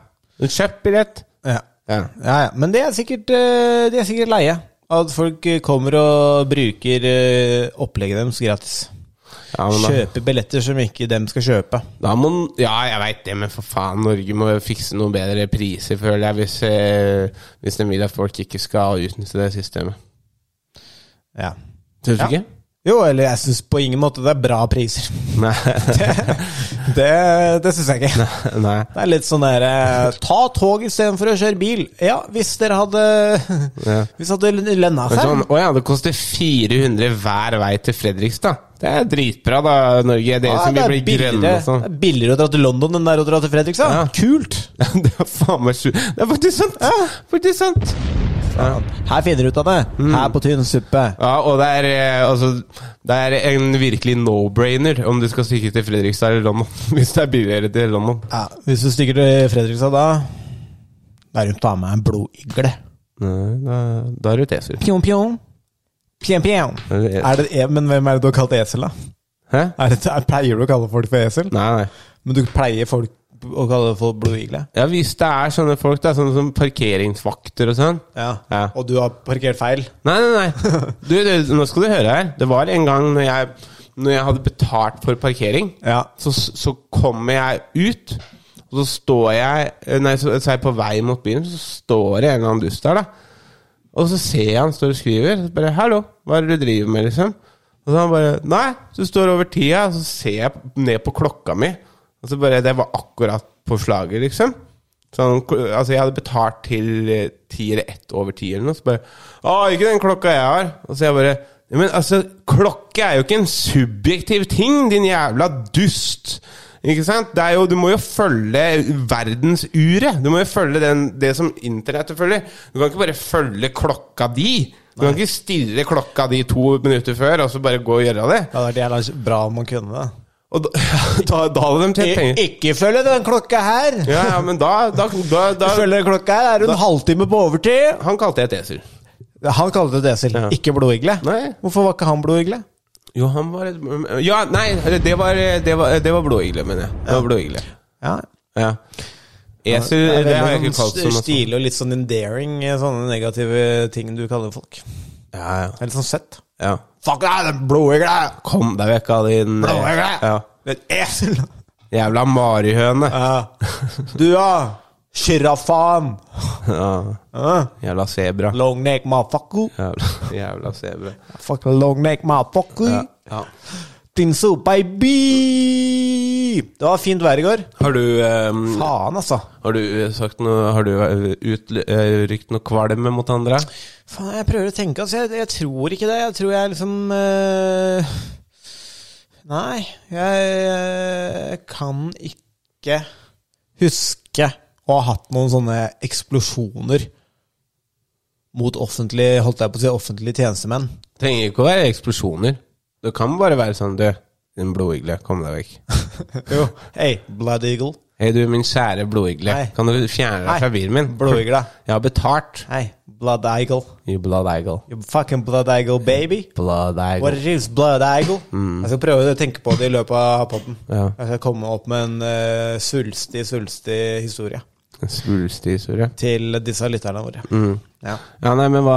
Speaker 2: Kjøpt billett.
Speaker 1: Ja.
Speaker 2: Ja.
Speaker 1: Ja, ja. Men det er sikkert, eh, de er sikkert leie. At folk eh, kommer og bruker eh, opplegget deres gratis.
Speaker 2: Ja, men da,
Speaker 1: Kjøper billetter som ikke dem skal kjøpe.
Speaker 2: da må den- Ja, jeg veit det, men for faen, Norge må jo fikse noen bedre priser, føler jeg, hvis, eh, hvis de vil at folk ikke skal utnytte det systemet.
Speaker 1: Ja.
Speaker 2: Syns du
Speaker 1: Ja.
Speaker 2: ikke?
Speaker 1: Jo, eller jeg syns på ingen måte det er bra priser.
Speaker 2: Nei.
Speaker 1: Det, det syns jeg ikke.
Speaker 2: Nei.
Speaker 1: Det er litt sånn derre Ta tog istedenfor å kjøre bil. Ja, hvis dere hadde
Speaker 2: Ja.
Speaker 1: Hvis hadde lønna
Speaker 2: Men
Speaker 1: seg.
Speaker 2: sånn, å ja, det koster 400 hver vei til Fredrikstad. Det er dritbra, da, Norge. Dere
Speaker 1: Ja,
Speaker 2: som
Speaker 1: det,
Speaker 2: vil
Speaker 1: er
Speaker 2: bli grønne
Speaker 1: billigere,
Speaker 2: og sånn.
Speaker 1: det er billigere å dra til London enn det er å dra til Fredrikstad.
Speaker 2: Ja.
Speaker 1: Kult!
Speaker 2: det er faen meg sjukt. Det er faktisk sant! Faktisk sant.
Speaker 1: Her finner du ut av det.
Speaker 2: Mm.
Speaker 1: Her på tynn suppe.
Speaker 2: Ja, og det er, eh, altså, det er en virkelig no-brainer om du skal stikke til Fredrikstad eller London. Hvis det er billigere til London.
Speaker 1: Ja, Hvis du stikker til Fredrikstad da Da er det å ta med en blodigle.
Speaker 2: Nei, da, da er du teser.
Speaker 1: Pjong, pjong. Pjong, pjong.
Speaker 2: Er det-
Speaker 1: Er det, e- men hvem er det du har kalt esel, da?
Speaker 2: Hæ?
Speaker 1: Er det, er, pleier du å kalle folk for esel?
Speaker 2: Nei, nei.
Speaker 1: Men du pleier folk å kalle folk blodigle?
Speaker 2: Ja, hvis det er sånne folk, da, sånne som parkeringsvakter og sånn. Ja.
Speaker 1: Og du har parkert feil?
Speaker 2: Nei, nei, nei. Du, du, nå skal du høre her. Det var en gang når jeg, når jeg hadde betalt for parkering,
Speaker 1: Ja.
Speaker 2: så, så kommer jeg ut, og så står jeg eh, Nei, så, så er jeg på vei mot byen, så står det en eller annen dust der, da. Og så ser jeg han står og skriver. Så bare 'Hallo, hva er det du driver med?' liksom. Og så han bare 'Nei, du står over tida', og så ser jeg ned på klokka mi. Og så bare Det var akkurat på slaget, liksom. Så han, altså Jeg hadde betalt til eh, ti eller ett over ti, eller noe. Så bare 'Å, ikke den klokka jeg har'. Og så jeg bare «Ja, Men altså, klokke er jo ikke en subjektiv ting, din jævla dust! Ikke sant? Det er jo, du må jo følge verdensuret. Du må jo følge den, det som internettet følger. Du kan ikke bare følge klokka di. Du kan ikke stille klokka di to minutter før, og så bare gå og gjøre det.
Speaker 1: Ja, det hadde vært jævla bra om man kunne det.
Speaker 2: Og da, da, da hadde de tjent penger.
Speaker 1: ikke følge den klokka her!
Speaker 2: Ja, ja, men da, da, da, da
Speaker 1: Følge klokka her, er du en halvtime på overtid?
Speaker 2: Han kalte jeg et esel.
Speaker 1: Han kalte det esel,
Speaker 2: Ja.
Speaker 1: ikke blodigle.
Speaker 2: Nei.
Speaker 1: Hvorfor var ikke han blodigle?
Speaker 2: Jo, han var et Ja, nei, det var, det var, det var blåigle, mener jeg. Det var blåigle.
Speaker 1: Ja,
Speaker 2: Ja. Esel,
Speaker 1: Det er
Speaker 2: det har jeg
Speaker 1: veldig
Speaker 2: ikke kalt
Speaker 1: sånn
Speaker 2: som noe sånt.
Speaker 1: stilig og litt sånn endearing, sånne negative ting du kaller folk.
Speaker 2: Ja, ja,
Speaker 1: Det er litt sånn søtt.
Speaker 2: ja.
Speaker 1: Fuck deg, den blodigle!
Speaker 2: Kom deg vekk av din eh,
Speaker 1: Blåigle!
Speaker 2: Ja.
Speaker 1: Den esel!
Speaker 2: Jævla marihøne.
Speaker 1: Ja. Du, ja! Sjiraffan!
Speaker 2: Ja.
Speaker 1: Ja.
Speaker 2: Jævla sebra.
Speaker 1: Long neck motherfucker.
Speaker 2: Jævla, jævla sebra.
Speaker 1: Fuck long neck motherfucker.
Speaker 2: Ja. Ja.
Speaker 1: Dinso baby! Det var fint vær i går.
Speaker 2: Har du, ehm,
Speaker 1: Faen, altså.
Speaker 2: har du eh, sagt noe Har du eh, utl- eh, rykt noe kvalme mot andre?
Speaker 1: Faen, jeg prøver å tenke, altså. Jeg, jeg tror ikke det. Jeg tror jeg liksom eh, Nei, jeg, jeg kan ikke huske å ha hatt noen sånne eksplosjoner mot offentlig, holdt jeg på å si, offentlige tjenestemenn.
Speaker 2: Trenger ikke å være eksplosjoner. Det kan bare være sånn, du, din blodigle, kom deg vekk.
Speaker 1: Jo. Hey, Blood Eagle.
Speaker 2: Hei, du, min kjære blodigle.
Speaker 1: Hei.
Speaker 2: Kan du fjerne
Speaker 1: Hei,
Speaker 2: deg fra bilen min?
Speaker 1: blodigle.
Speaker 2: Jeg har betalt.
Speaker 1: Hey, Blood Eagle.
Speaker 2: You blood eagle.
Speaker 1: You fucking Blood Eagle, baby.
Speaker 2: Blood
Speaker 1: What
Speaker 2: eagle. Mm.
Speaker 1: it is, Blood Eagle. Jeg skal prøve å tenke på det i løpet av podden.
Speaker 2: Ja.
Speaker 1: Jeg skal komme opp med en eh, svulstig, svulstig historie
Speaker 2: Svulstig historie.
Speaker 1: til disse lytterne våre.
Speaker 2: Mm.
Speaker 1: Ja.
Speaker 2: Ja, nei, men hva,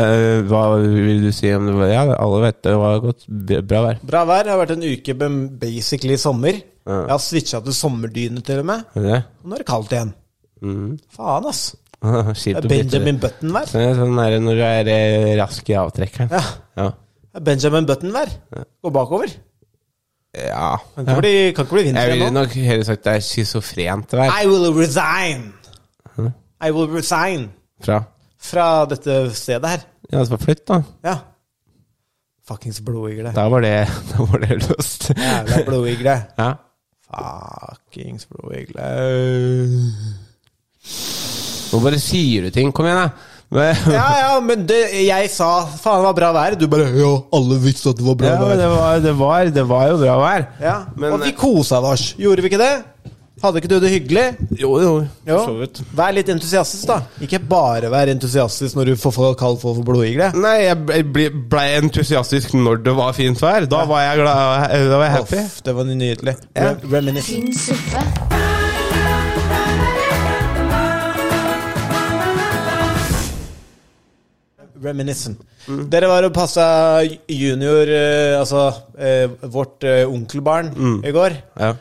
Speaker 2: eh, hva vil du si om det? var- Ja, alle vet det var godt, bra vær.
Speaker 1: Bra vær. Det har vært en uke med basically sommer. Jeg har switcha til sommerdyne til og med.
Speaker 2: Er det Mm. det?
Speaker 1: Og nå er det kaldt igjen. Faen, ass.
Speaker 2: Kjipt å
Speaker 1: Det er
Speaker 2: bytte det.
Speaker 1: Benjamin Button-vær.
Speaker 2: Sånn er det sånn der når du er eh, rask i avtrekkeren.
Speaker 1: Ja.
Speaker 2: Ja.
Speaker 1: Det er Benjamin Button-vær. Gå bakover.
Speaker 2: ja.
Speaker 1: Kan ikke bli, kan ikke bli vinter
Speaker 2: Jeg ville
Speaker 1: igjen nå.
Speaker 2: nok heller sagt det er schizofrent vær.
Speaker 1: I will resign. I will resign
Speaker 2: Fra
Speaker 1: fra dette stedet her.
Speaker 2: Ja, så flytt, da.
Speaker 1: Ja. Fuckings blodigle.
Speaker 2: Da var det, da var det løst.
Speaker 1: Jævla blodigle.
Speaker 2: Ja.
Speaker 1: Fuckings blodigle.
Speaker 2: Nå bare sier du ting. Kom igjen, da. Men-
Speaker 1: Ja, ja, men det, jeg sa faen det var bra vær. Du bare ja, alle visste at det var bra
Speaker 2: Ja, men
Speaker 1: vær.
Speaker 2: det var, det, var, det var jo bra vær.
Speaker 1: Ja,
Speaker 2: Men, eh,
Speaker 1: Og vi kosa oss. Gjorde vi ikke det? Hadde ikke du det hyggelig?
Speaker 2: eh, Jo, jo.
Speaker 1: Jo.
Speaker 2: for så vidt.
Speaker 1: Vær litt entusiastisk, da. Ikke bare vær entusiastisk når du får for kald for for blodigle.
Speaker 2: Nei, jeg ble- ble, ble entusiastisk når det var fint vær. Da var jeg glad. eh, Da var jeg happy.
Speaker 1: Uff, det var nydelig.
Speaker 2: Ja.
Speaker 1: Re- Reminiscent.
Speaker 3: Tynn suppe.
Speaker 1: Reminiscent. Dere var og passa junior, eh, altså eh, vårt eh, onkelbarn,
Speaker 2: Mm.
Speaker 1: i går.
Speaker 2: Ja.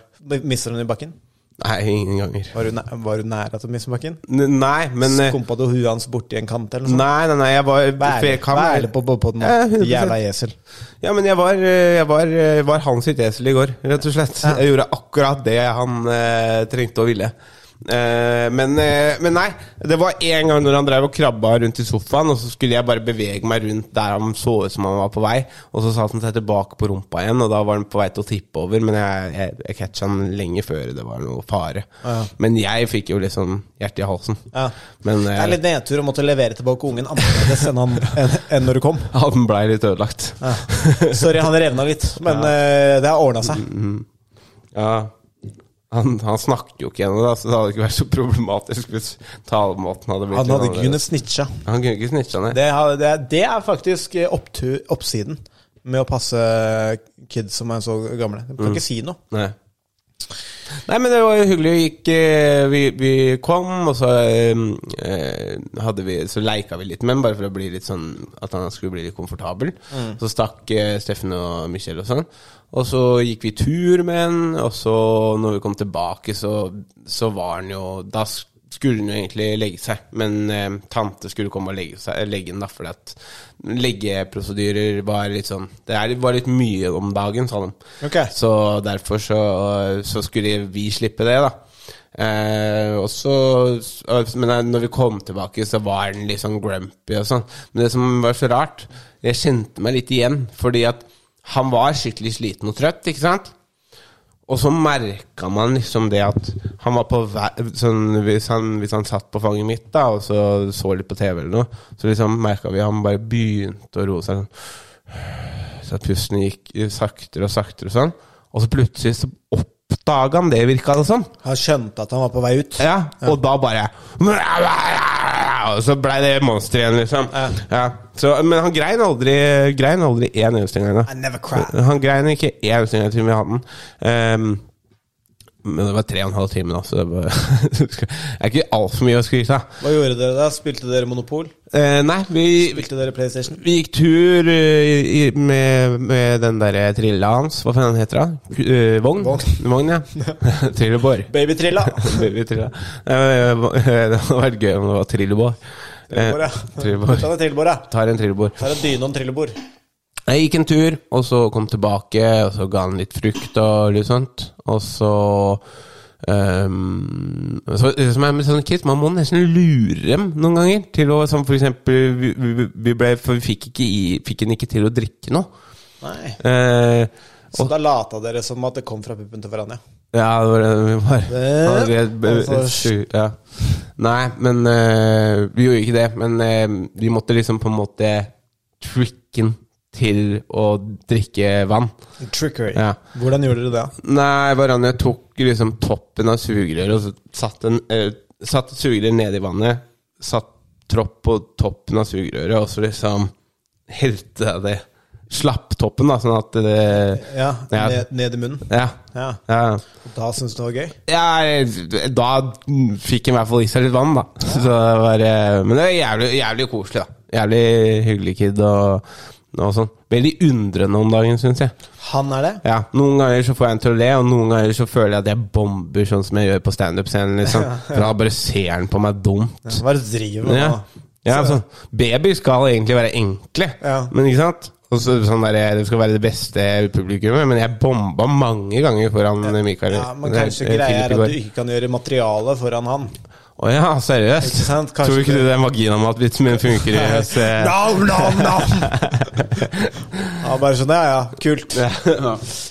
Speaker 1: Mista hun i bakken?
Speaker 2: Nei, ingen ganger.
Speaker 1: Var hun, næ- var hun nære til å miste bakken?
Speaker 2: N nei, men eh,
Speaker 1: Skumpa du huet hans borti en kant, eller noe? sånt?
Speaker 2: Nei, nei, nei, jeg var
Speaker 1: Vær
Speaker 2: for jeg
Speaker 1: ærlig-
Speaker 2: kan
Speaker 1: vær
Speaker 2: være-
Speaker 1: ærlig på, på, på den
Speaker 2: Ja, 100%.
Speaker 1: jævla esel.
Speaker 2: Ja, men jeg var, eh, jeg var, eh, var han sitt esel i går, rett og slett. Jeg gjorde akkurat det han eh, trengte og ville. Eh, men, eh, men nei, det var en gang når han drev og krabba rundt i sofaen, og så skulle jeg bare bevege meg rundt der han så ut som han var på vei, og så satte han seg tilbake på rumpa igjen, og da var han på vei til å tippe over, men jeg, jeg, jeg catcha han lenge før det var noe fare. Men jeg fikk jo liksom hjertet i halsen.
Speaker 1: Ja.
Speaker 2: Men
Speaker 1: Det er
Speaker 2: eh,
Speaker 1: litt nedtur å måtte levere tilbake ungen annerledes enn, han, enn, enn når du kom.
Speaker 2: han blei litt ødelagt.
Speaker 1: Ja. Sorry, han revna litt, men eh, det har ordna seg.
Speaker 2: Ja. Han, han snakker jo ikke ennå, da, så det hadde ikke vært så problematisk hvis talemåten hadde blitt
Speaker 1: Han hadde
Speaker 2: litt
Speaker 1: ikke
Speaker 2: annerledes.
Speaker 1: kunnet snitcha.
Speaker 2: Han kunne ikke snitcha ned.
Speaker 1: Det, har- det, er- det er faktisk eh, opptu, oppsiden med å passe kids som er så gamle. De kan ikke si noe.
Speaker 2: Nei. Nei, men det var jo hyggelig. Vi, gikk, eh, vi, vi kom, og så, eh, eh, hadde vi, så leika vi litt med ham, bare for å bli litt sånn at han skulle bli litt komfortabel. Så stakk eh, Steffen og Michelle og sånn. Og så gikk vi tur med han, og så når vi kom tilbake, så, så var han jo Da skulle han jo egentlig legge seg, men eh, tante skulle komme og legge, seg, eh, legge han, da, fordi at leggeprosedyrer var litt sånn Det er, var litt mye om dagen, sa de.
Speaker 1: Ok.
Speaker 2: Så derfor så, så skulle vi slippe det, da. Eh, og så Men da- når vi kom tilbake, så var den litt sånn grumpy og sånn. Men det som var så rart, jeg kjente meg litt igjen, fordi at han var skikkelig sliten og trøtt, ikke sant? Og så merka man liksom det at han var på vei sånn, hvis, han, hvis han satt på fanget mitt da og så, så litt på TV eller noe, så liksom merka vi han bare begynte å roe seg sånn. Så at pusten gikk saktere og saktere og sånn. Og så plutselig så oppdaga han det, virka det som.
Speaker 1: Han skjønte at han var på vei ut.
Speaker 2: Ja, og da bare Og så blei det monster igjen, liksom.
Speaker 1: Ja.
Speaker 2: Ja. Så, men han grein aldri Grein aldri én eneste gang.
Speaker 1: I
Speaker 2: Da.
Speaker 1: never cry.
Speaker 2: Han grein ikke én eneste gang til vi hadde den. Ehm, men det var tre og en halv time, da, så det var, det er ikke altfor mye å skryte av.
Speaker 1: Hva gjorde dere da? Spilte dere Monopol?
Speaker 2: Eh, nei, vi,
Speaker 1: Spilte dere PlayStation?
Speaker 2: Vi gikk tur eh, i, med, med den derre trilla hans. Hva faen heter han? Eh, vogn?
Speaker 1: Vogn.
Speaker 2: Vogn, ja. Trillebår.
Speaker 1: Babytrilla!
Speaker 2: Babytrilla. Eh, Det hadde vært gøy om det var trillebår. Eh,
Speaker 1: Trillebår, ja. Ta
Speaker 2: Trillebår.
Speaker 1: deg trillebord, da.
Speaker 2: Tar en trillebår.
Speaker 1: Ta deg dyne og en trillebord.
Speaker 2: Jeg gikk en tur, og så kom tilbake, og så ga han litt frukt og litt sånt. Og så ehm, så, som er med sånne kids, Man må nesten lure dem noen ganger. Til å, som for eksempel, vi, vi, vi, ble, for vi fikk, ikke i, fikk han ikke til å drikke noe.
Speaker 1: Nei.
Speaker 2: Eh,
Speaker 1: Så da lata dere som at det kom fra puppen til Verania.
Speaker 2: ja, det var det vi var. Ja, vi er-
Speaker 1: Det var så
Speaker 2: sju- ja. Nei, men eh, vi gjorde ikke det. Men eh, vi måtte liksom på en måte tricke den til å drikke vann.
Speaker 1: Trickery.
Speaker 2: Ja.
Speaker 1: Hvordan gjorde dere det?
Speaker 2: Nei, bare jeg tok liksom toppen av sugerøret og så satte en, eh, satt sugerør ned i vannet. Satt tropp på toppen av sugerøret, og så liksom helte jeg det. Slapp toppen, da, sånn at det
Speaker 1: Ja,
Speaker 2: Ja.
Speaker 1: Ned, ned i munnen?
Speaker 2: Ja.
Speaker 1: Ja.
Speaker 2: ja.
Speaker 1: Da syns du det var gøy?
Speaker 2: Ja, da fikk jeg i hvert fall i seg litt vann, da. Så det var, eh, men det var jævlig, jævlig koselig, da. Jævlig hyggelig kid og, og sånn. Veldig undrende om dagen, syns jeg.
Speaker 1: Han er det?
Speaker 2: Ja, Noen ganger så får jeg en til å le, og noen ganger så føler jeg at jeg bomber, sånn som jeg gjør på standup-scenen. Liksom. For da bare ser han på meg dumt.
Speaker 1: Hva er det du driver med
Speaker 2: Ja.
Speaker 1: nå?
Speaker 2: Ja,
Speaker 1: Så-
Speaker 2: sånn. Babyer skal egentlig være enkle,
Speaker 1: Ja.
Speaker 2: men ikke sant? Og så sånn der, Det skal være det beste publikummet, men jeg bomba mange ganger foran Mikael.
Speaker 1: Ja, men kanskje
Speaker 2: eh, Philip
Speaker 1: greia er
Speaker 2: i
Speaker 1: at
Speaker 2: går.
Speaker 1: du ikke kan gjøre materialet foran han.
Speaker 2: Å ja, seriøst?
Speaker 1: Ikke sant? Kanskje
Speaker 2: Tror du ikke
Speaker 1: det-
Speaker 2: det er magien om at vitsen min funker? i oss, eh?
Speaker 1: Nam, nam, nam! Ja, bare sånn, ja, ja, kult.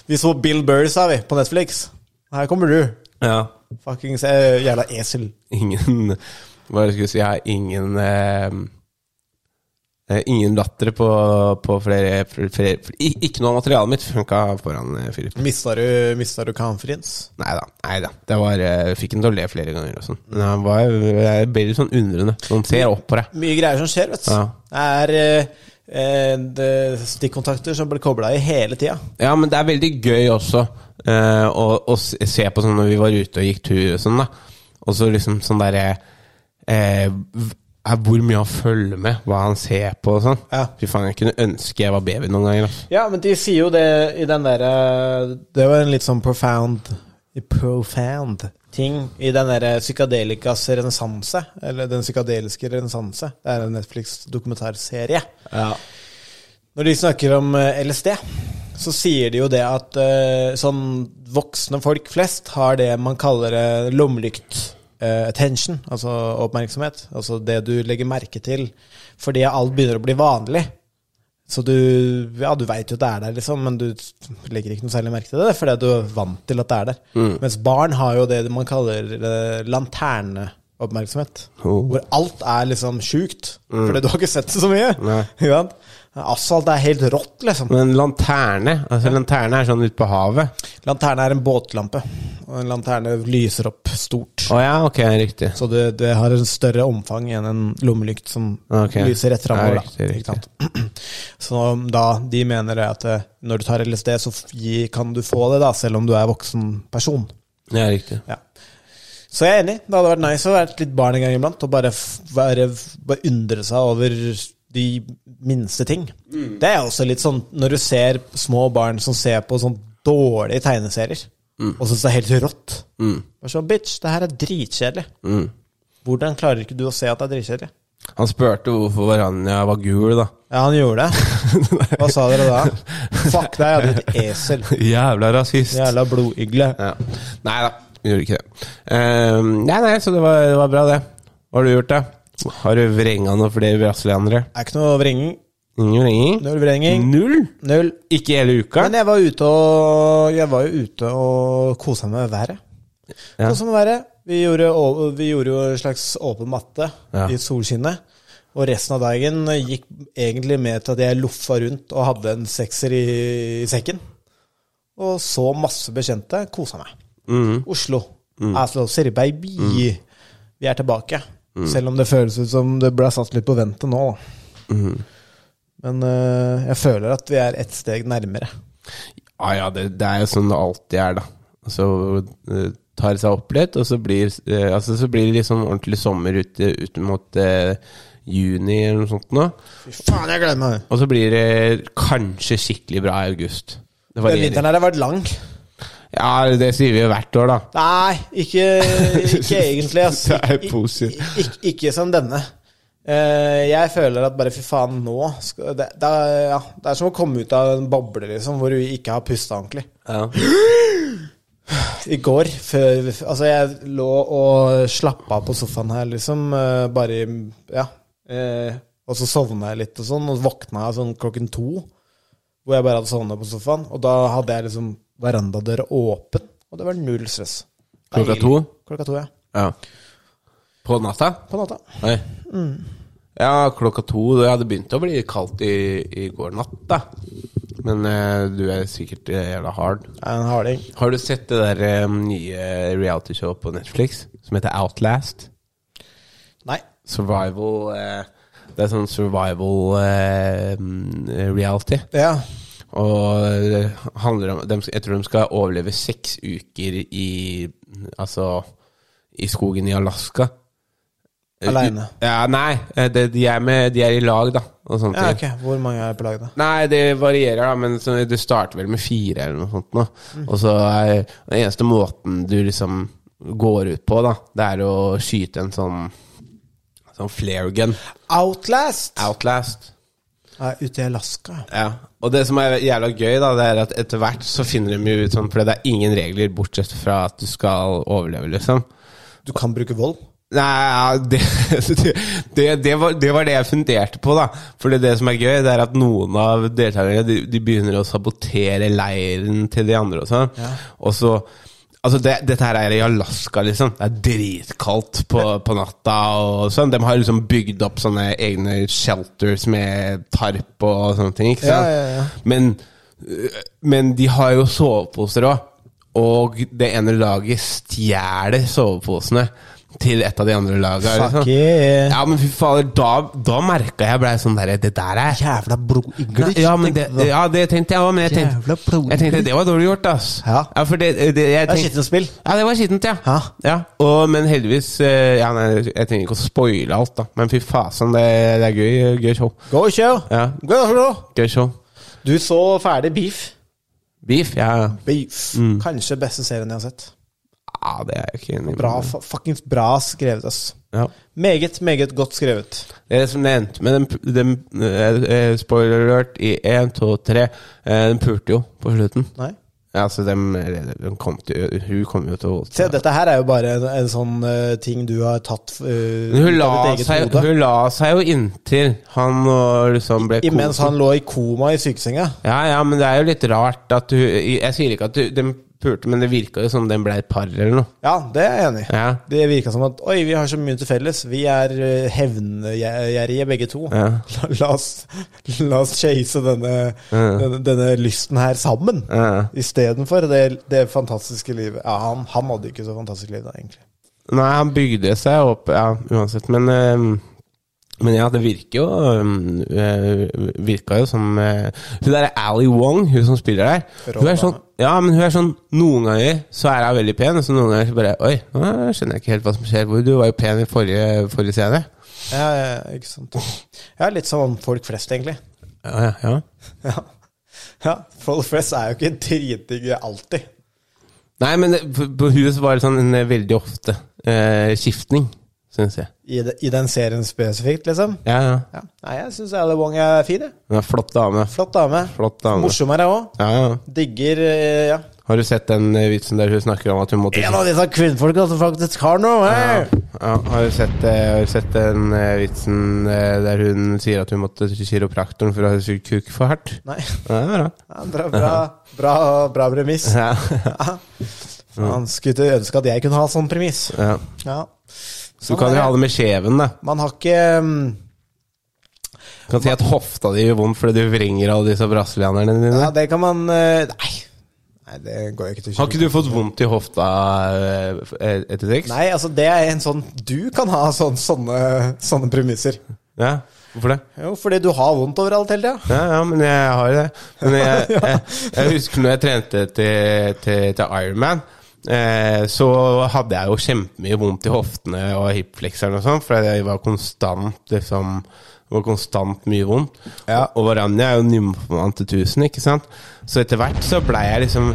Speaker 1: Vi så Bill Burr, sa vi, på Netflix. Her kommer du.
Speaker 2: ja.
Speaker 1: Fuckings eh, jævla esel.
Speaker 2: Ingen Hva er det jeg skulle si? Jeg har ingen eh, eh, Ingen latter på, på flere, flere, flere i- Ikke noe av materialet mitt funka foran eh, Philip.
Speaker 1: Mista du, mista du conference?
Speaker 2: Nei da. Nei da. Det var, eh, fikk han til å le flere ganger og sånn. Men han var jeg ble litt sånn undrende. Noen ser opp på deg.
Speaker 1: Mye greier som skjer, vet du.
Speaker 2: Ja.
Speaker 1: Det er eh, eh, det- stikkontakter som blir kobla i hele tida.
Speaker 2: Ja, men det er veldig gøy også eh, å, å se se på sånn når vi var ute og gikk tur og sånn, da. Og så liksom sånn derre eh, v- er Hvor mye han følger med, hva han ser på og sånn.
Speaker 1: Ja.
Speaker 2: Fy faen, jeg kunne ønske jeg var baby noen ganger. Altså.
Speaker 1: Ja, men de sier jo det i den derre Det var en litt sånn profound Profound ting i den derre psykadelikas renessanse. Eller den psykadeliske renessanse. Det er en Netflix-dokumentarserie. Når de snakker om eh, LSD, så sier de jo det at eh, sånn voksne folk flest har det man kaller eh, lommelykt eh, attention, altså oppmerksomhet. Altså det du legger merke til fordi alt begynner å bli vanlig. Så du, ja, du veit jo at det er der, liksom, men du legger ikke noe særlig merke til det fordi du er vant til at det er der.
Speaker 2: Mm.
Speaker 1: Mens barn har jo det man kaller eh, lanterneoppmerksomhet.
Speaker 2: Oh. Mm.
Speaker 1: Hvor alt er liksom sjukt, fordi du har ikke sett det så mye.
Speaker 2: Nei.
Speaker 1: Ikke sant? Asfalt er helt rått, liksom.
Speaker 2: Men lanterne altså lanterne er sånn ute på havet.
Speaker 1: Lanterne er en båtlampe, og en lanterne lyser opp stort.
Speaker 2: Å ja, ok, riktig.
Speaker 1: Så det, det har en større omfang enn en lommelykt som
Speaker 2: Ok.
Speaker 1: lyser rett
Speaker 2: Ja,
Speaker 1: framover.
Speaker 2: riktig, riktig.
Speaker 1: Så da, de mener det at eh, når du tar LSD, så f- gi- kan du få det, da, selv om du er voksen person.
Speaker 2: Ja, riktig.
Speaker 1: Ja. Så jeg er enig. Det hadde vært nice å være litt barn en gang iblant og bare, f- være, f- bare undre seg over de minste ting.
Speaker 2: Mm.
Speaker 1: Det er også litt sånn når du ser små barn som ser på sånn dårlige tegneserier,
Speaker 2: Mm.
Speaker 1: og syns det er helt rått. Bare sånn, bitch, det her er dritkjedelig.
Speaker 2: Mm.
Speaker 1: Hvordan klarer ikke du å se at det er dritkjedelig?
Speaker 2: Han spurte hvorfor Varanja var gul, da.
Speaker 1: Ja, han gjorde det. Hva sa dere da? Fuck deg, ja, ditt esel.
Speaker 2: Jævla rasist.
Speaker 1: Jævla blodygle.
Speaker 2: Ja. Nei da, vi gjorde ikke det. Ehm, nei, nei, så det var, det var bra, det. Hva har du gjort, da? Har du vrenga noen flere brasilianere?
Speaker 1: Det er ikke noe vrenging.
Speaker 2: Ingen vrenging?
Speaker 1: Null vrenging.
Speaker 2: Null?
Speaker 1: Null.
Speaker 2: Ikke hele uka?
Speaker 1: Men jeg var ute og Jeg var jo ute og kosa meg med været.
Speaker 2: Ja.
Speaker 1: Kosa meg med været. Vi gjorde, å- vi gjorde jo en slags åpen matte
Speaker 2: Ja.
Speaker 1: i solskinnet. Og resten av dagen gikk egentlig med til at jeg loffa rundt og hadde en sekser i, i sekken. Og så masse bekjente. Kosa meg.
Speaker 2: Mhm.
Speaker 1: Oslo. Oslo City, baby. Vi er tilbake.
Speaker 2: Mhm.
Speaker 1: Selv om det føles ut som det ble satt litt på ventet nå. da.
Speaker 2: Mhm.
Speaker 1: Men øh, jeg føler at vi er ett steg nærmere.
Speaker 2: Ja Ah, ja, det, det er jo sånn det alltid er, da. Så eh, tar det seg opp litt, og så blir, eh, altså, så blir det liksom ordentlig sommer ut, ut mot eh, juni eller noe sånt nå.
Speaker 1: Faen, jeg gleder meg!
Speaker 2: Og så blir det kanskje skikkelig bra i august. Det
Speaker 1: Den
Speaker 2: varierer.
Speaker 1: vinteren her har vært lang.
Speaker 2: Ja, det sier vi jo hvert år, da.
Speaker 1: Nei, ikke, ikke egentlig. Ass.
Speaker 2: Det er
Speaker 1: Ik-
Speaker 2: positivt.
Speaker 1: ik- Ikke, ikke som denne. Eh, jeg føler at bare fy faen, nå skal, det, det, er, ja, det er som å komme ut av en boble liksom, hvor du ikke har pusta ordentlig.
Speaker 2: Ja.
Speaker 1: I går, før Altså, jeg lå og slappa av på sofaen her, liksom. eh, Bare i Ja. eh, Og så sovna jeg litt og sånn, og våkna jeg sånn klokken to. Hvor jeg bare hadde sovna på sofaen. Og da hadde jeg liksom verandadøra åpen, og det var null stress.
Speaker 2: Klokka
Speaker 1: Deilig.
Speaker 2: to?
Speaker 1: Klokka to, ja.
Speaker 2: Ja. På natta?
Speaker 1: På natta.
Speaker 2: Nei. Ja, klokka to. Det hadde begynt å bli kaldt i, i går natt, da. Men eh, du er sikkert eh, jævla hard.
Speaker 1: Jeg er en harding.
Speaker 2: Har du sett det der eh, nye realityshowet på Netflix som heter Outlast?
Speaker 1: Nei.
Speaker 2: Survival eh, Det er sånn survival eh, mm, reality.
Speaker 1: Ja.
Speaker 2: Og det handler om dem- Jeg tror de skal overleve seks uker i Altså i skogen i Alaska. Eh,
Speaker 1: Alene.
Speaker 2: Ja, nei, eh, det, de, er med, de er i lag, da. Og sånne
Speaker 1: ja,
Speaker 2: ting.
Speaker 1: ok. Hvor mange er på laget, da?
Speaker 2: Nei, det varierer, da, men så, du starter vel med fire eller noe sånt. Nå.
Speaker 1: Mm.
Speaker 2: Og så er den eneste måten du liksom går ut på, da, det er å skyte en sånn, sånn flare gun.
Speaker 1: Outlast!
Speaker 2: Outlast.
Speaker 1: Jeg er ute i Alaska.
Speaker 2: Ja. Og det som er jævla gøy, da, det er at etter hvert så finner de jo ut sånn, for det er ingen regler bortsett fra at du skal overleve, liksom.
Speaker 1: Du kan bruke vold.
Speaker 2: Nei, ja, det, det, det, var, det var det jeg funderte på, da. For det, det som er gøy, det er at noen av deltakerne de, de begynner å sabotere leiren til de andre. Og sånn. Og så Altså, det, dette her er i Alaska, liksom. Det er dritkaldt på, på natta og sånn. De har liksom bygd opp sånne egne shelters med tarp og sånne ting. ikke sant?
Speaker 1: Ja, ja, ja.
Speaker 2: Men, øh, men de har jo soveposer òg. Og det ene laget stjeler soveposene til et av de andre laga.
Speaker 1: Fuck yeah.
Speaker 2: sånn? Ja, men fy fader, da, da merka jeg blei sånn derre Det der er
Speaker 1: Jævla blodigler.
Speaker 2: Nei, ja, men det, ja, det tenkte jeg òg, men jeg tenkte,
Speaker 1: Jævla blodig.
Speaker 2: jeg tenkte det var dårlig gjort, ass.
Speaker 1: Ja.
Speaker 2: for det, det, jeg
Speaker 1: Det er
Speaker 2: tenkte-
Speaker 1: skittent spill.
Speaker 2: Ja, det var skittent, ja.
Speaker 1: Ja.
Speaker 2: Og, men heldigvis eh, ja, nei, Jeg trenger ikke å spoile alt, da, men fy fasen, det, det er gøy, gøy show.
Speaker 1: Go, show!
Speaker 2: Ja.
Speaker 1: Go, show!
Speaker 2: Gøy show.
Speaker 1: Du så ferdig Beef.
Speaker 2: Beef, Mm. ja. ja.
Speaker 1: Beef. Kanskje beste serien jeg har sett.
Speaker 2: Ja, det er jeg ikke enig i.
Speaker 1: Bra, fa- fucking bra skrevet, ass.
Speaker 2: Ja.
Speaker 1: Meget, meget godt skrevet.
Speaker 2: Det er som det endte med. Den, den, eh, eh, spoiler alert i én, to, tre. Eh, Den pulte jo på slutten.
Speaker 1: Nei?
Speaker 2: Ja, Altså, dem, eller, den kom til, hun kom jo til å
Speaker 1: Se, dette her er jo bare en, en sånn eh, ting du har tatt eh,
Speaker 2: hun
Speaker 1: ut
Speaker 2: la,
Speaker 1: av ditt eget
Speaker 2: seg,
Speaker 1: hode.
Speaker 2: hun la seg jo inntil han og liksom ble
Speaker 1: Imens
Speaker 2: koset.
Speaker 1: han lå i koma i sykesenga.
Speaker 2: Ja, ja, men det er jo litt rart at hun Jeg sier ikke at hun, den pulte, men det virka jo som den ble et par eller noe.
Speaker 1: Ja, det er jeg enig i.
Speaker 2: Ja.
Speaker 1: Det virka som at Oi, vi har så mye til felles. Vi er eh, hevngjerrige begge to.
Speaker 2: Ja.
Speaker 1: La, la, oss, la oss chase denne, denne, denne lysten her sammen.
Speaker 2: Ja.
Speaker 1: Istedenfor det, det fantastiske livet. Ja, han, han hadde ikke så fantastisk liv, da, egentlig.
Speaker 2: Nei, han bygde seg opp, ja, uansett. Men, eh, men ja, det virker jo eh, Virka jo som eh, Hun der er Ali Wong, hun som spiller der.
Speaker 1: Rå
Speaker 2: Hun er
Speaker 1: dame.
Speaker 2: sånn, ja, men hun er sånn Noen ganger så er hun veldig pen, og så noen ganger så bare Oi, nå skjønner jeg ikke helt hva som skjer. Hvor- Du var jo pen i forrige, forrige scene.
Speaker 1: Ja, ja, ikke sant. Ja, litt som folk flest, egentlig.
Speaker 2: Ja, ja, ja.
Speaker 1: Ja. ja folk flest er jo ikke dritdigge alltid.
Speaker 2: Nei, men det- på på hun så var det sånn en eh, veldig ofte eh, skiftning, syns jeg.
Speaker 1: I, de, I den serien spesifikt, liksom.
Speaker 2: Ja, ja.
Speaker 1: Ja. Nei, jeg syns Ali Wong er fin. jeg.
Speaker 2: Hun er en flott dame.
Speaker 1: Flott dame.
Speaker 2: Flott dame.
Speaker 1: Morsommere òg.
Speaker 2: Ja, ja.
Speaker 1: Digger eh, ja.
Speaker 2: Har du sett den eh, vitsen der hun snakker om at hun måtte
Speaker 1: En av disse kvinnfolka som faktisk har noe! hei!
Speaker 2: Ja, har du sett, eh, har du sett den eh, vitsen eh, der hun sier at hun måtte til kiropraktoren for å ha sugd kuk for hardt?
Speaker 1: Nei.
Speaker 2: Ja, det er bra.
Speaker 1: Ja, bra, bra, bra, bra premiss.
Speaker 2: Ja.
Speaker 1: Han skulle ønske at jeg kunne ha sånn premiss.
Speaker 2: Ja.
Speaker 1: Ja.
Speaker 2: Så du kan jo ha det med skjeven, da.
Speaker 1: Man har ikke mm,
Speaker 2: Du kan si at hofta di gjør vondt fordi du vrenger alle disse brasilianerne dine.
Speaker 1: Ja, det kan man eh, Nei. Nei, det går jo ikke til
Speaker 2: Har ikke du fått vondt i hofta eh, f- eh, etter sex?
Speaker 1: Nei, altså det er en sånn Du kan ha sånn, sånne, sånne premisser.
Speaker 2: Ja, hvorfor det?
Speaker 1: Jo, fordi du har vondt overalt hele tida.
Speaker 2: Ja, ja, men jeg har det. Men jeg, jeg, jeg husker når jeg trente til, til, til Ironman, eh, så hadde jeg jo kjempemye vondt i hoftene og hipflekseren og sånn, for jeg var konstant liksom det var konstant mye vondt.
Speaker 1: Ja.
Speaker 2: Og Varanja er jo nymfoman til tusen, ikke sant? Så etter hvert så blei jeg liksom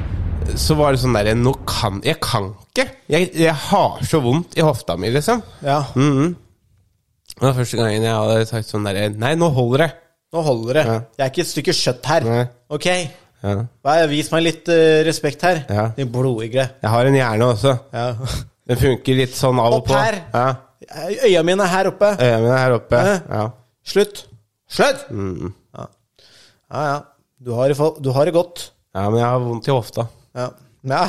Speaker 2: Så var det sånn derre Nå kan Jeg kan ikke! Jeg, jeg har så vondt i hofta mi, liksom.
Speaker 1: Ja.
Speaker 2: Det var første gangen jeg hadde sagt sånn derre Nei, nå holder det!
Speaker 1: Nå holder det.
Speaker 2: Ja.
Speaker 1: Jeg er ikke et stykke kjøtt her.
Speaker 2: Nei.
Speaker 1: Ok?
Speaker 2: Ja.
Speaker 1: Hva er- Vis meg litt eh, respekt her,
Speaker 2: Ja.
Speaker 1: din blodigle.
Speaker 2: Jeg har en hjerne også.
Speaker 1: Ja.
Speaker 2: Den funker litt sånn av og
Speaker 1: Opp
Speaker 2: på.
Speaker 1: her.
Speaker 2: Ja.
Speaker 1: Øya mine er her oppe.
Speaker 2: Øya mine er her oppe.
Speaker 1: Hæ?
Speaker 2: Ja.
Speaker 1: Slutt! Slutt! Ja. ja, ja. Du har, det fol- du har det godt.
Speaker 2: ja, men jeg har vondt i hofta.
Speaker 1: Ja. ja.